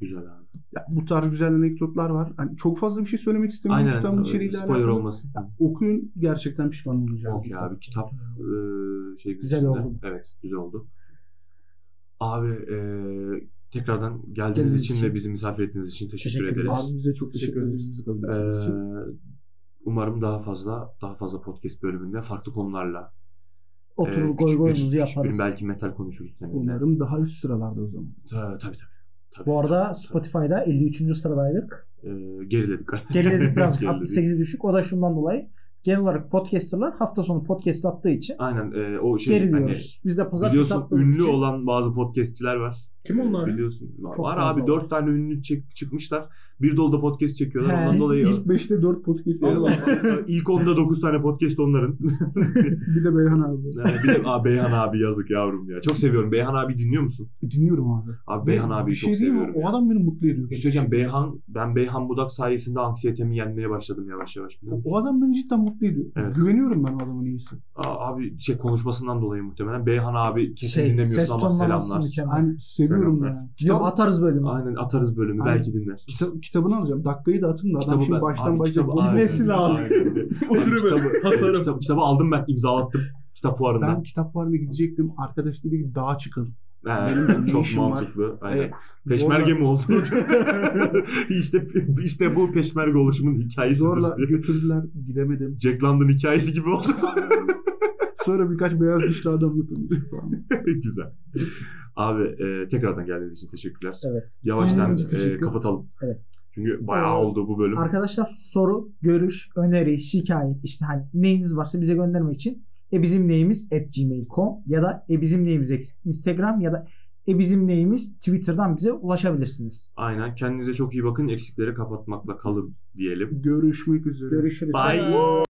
Güzel abi.
Ya bu tarz güzel anekdotlar var. Hani çok fazla bir şey söylemek istemiyorum
Aynen.
kitabın içeriğiyle
Spoiler
alakalı.
olmasın.
Okuyun gerçekten pişman olacaksınız.
Okey abi kitap eee, şey
Güzel
güzel
oldu.
Evet güzel oldu. Abi eee, tekrardan geldiğiniz
Geldiğiniz
için
için.
ve bizi misafir ettiğiniz için teşekkür,
Teşekkür
ederiz.
Abi bize çok teşekkür,
Teşekkür Ee,
ederiz. bizi kabul ettiğiniz için.
Eee, umarım daha fazla daha fazla podcast bölümünde farklı konularla eee,
Oturur
küçük
goy
bir-
goyumuzu
küçük bir
yaparız.
belki metal konuşuruz seninle.
Umarım daha üst sıralarda o zaman.
Ta- tabii tabii. Tabii,
Bu arada
tabii, tabii.
Spotify'da 53. sıradaydık.
Eee, geriledik. (laughs)
Geriledik biraz
Geriledik.
68'e düşük. O da şundan dolayı. Genel olarak podcasterlar hafta sonu podcast attığı için
Aynen eee, o şey hani
geriliyoruz. Biz de pazartesi
biliyorsun
attığımız
ünlü
için
olan bazı podcastçiler var.
Kim onlar?
Biliyorsun. Var,
Çok
var
fazla
abi
var.
dört tane ünlü çık- çıkmışlar. Bir dolda podcast çekiyorlar.
He.
Ondan dolayı
İlk 5'te 4 podcast
Allah
Allah.
Allah. (laughs) İlk onda 9 tane podcast onların.
bir de Beyhan abi.
Ee, bir de Aa, Beyhan abi yazık yavrum ya. Çok seviyorum. Beyhan abi dinliyor musun?
Dinliyorum abi.
Abi Beyhan
Ve
abiyi
bir şey
çok
diyeyim mi?
seviyorum.
O
ya.
adam beni mutlu ediyor.
Bir şey söyleyeceğim. Beyhan, ben Beyhan Budak sayesinde anksiyetemi yenmeye başladım yavaş yavaş. biliyor musun?
O adam beni cidden mutlu ediyor.
Evet.
Güveniyorum ben o adamın iyisi.
Aa, abi şey konuşmasından dolayı muhtemelen. Beyhan abi kesin
şey, ses
dinlemiyorsun ama
tonlaması
selamlar.
mükemmel.
Yani seviyorum
Bilmiyorum
Selamlar.
ya. Kitap atarız bölümü.
Aynen atarız bölümü
Aynen.
belki dinler.
Kita- kitabını alacağım. Dakikayı da atın da adam
Kitabı
şimdi
ben-
baştan
abi,
başlayacak.
kitabı-
Bunu
Aynen.
dinlesin abi. (laughs)
Aynen.
Oturuyor böyle.
Kitabı,
Tasarım.
kitabı, kitabı aldım ben imzalattım kitap fuarından.
Ben kitap varına gidecektim. Arkadaş dedi ki dağa çıkalım.
He,
benim de
Ee, çok
işim var.
mantıklı. Aynen.
E,
peşmerge
zorla-
mi oldu? (laughs) işte işte bu peşmerge oluşumun hikayesi.
Zorla götürdüler. Gidemedim.
(laughs) Jack London hikayesi gibi oldu. (laughs)
Sonra birkaç beyaz dişli adamla tanıştık falan.
Güzel. Abi e, tekrardan geldiğiniz için teşekkürler.
şey. Evet.
Yavaştan
Biz
e,
teşekkür- Ee,
kapatalım.
Evet.
Çünkü bayağı oldu bu bölüm.
Arkadaşlar soru, görüş, öneri, şikayet işte hani neyiniz varsa bize göndermek için e bizim neyimiz at gmail.com ya da e bizim neyimiz eksik Instagram ya da e bizim neyimiz Twitter'dan bize ulaşabilirsiniz.
Aynen. Kendinize çok iyi bakın. Eksikleri kapatmakla kalın diyelim.
Görüşmek üzere.
Görüşürüz.
Bye.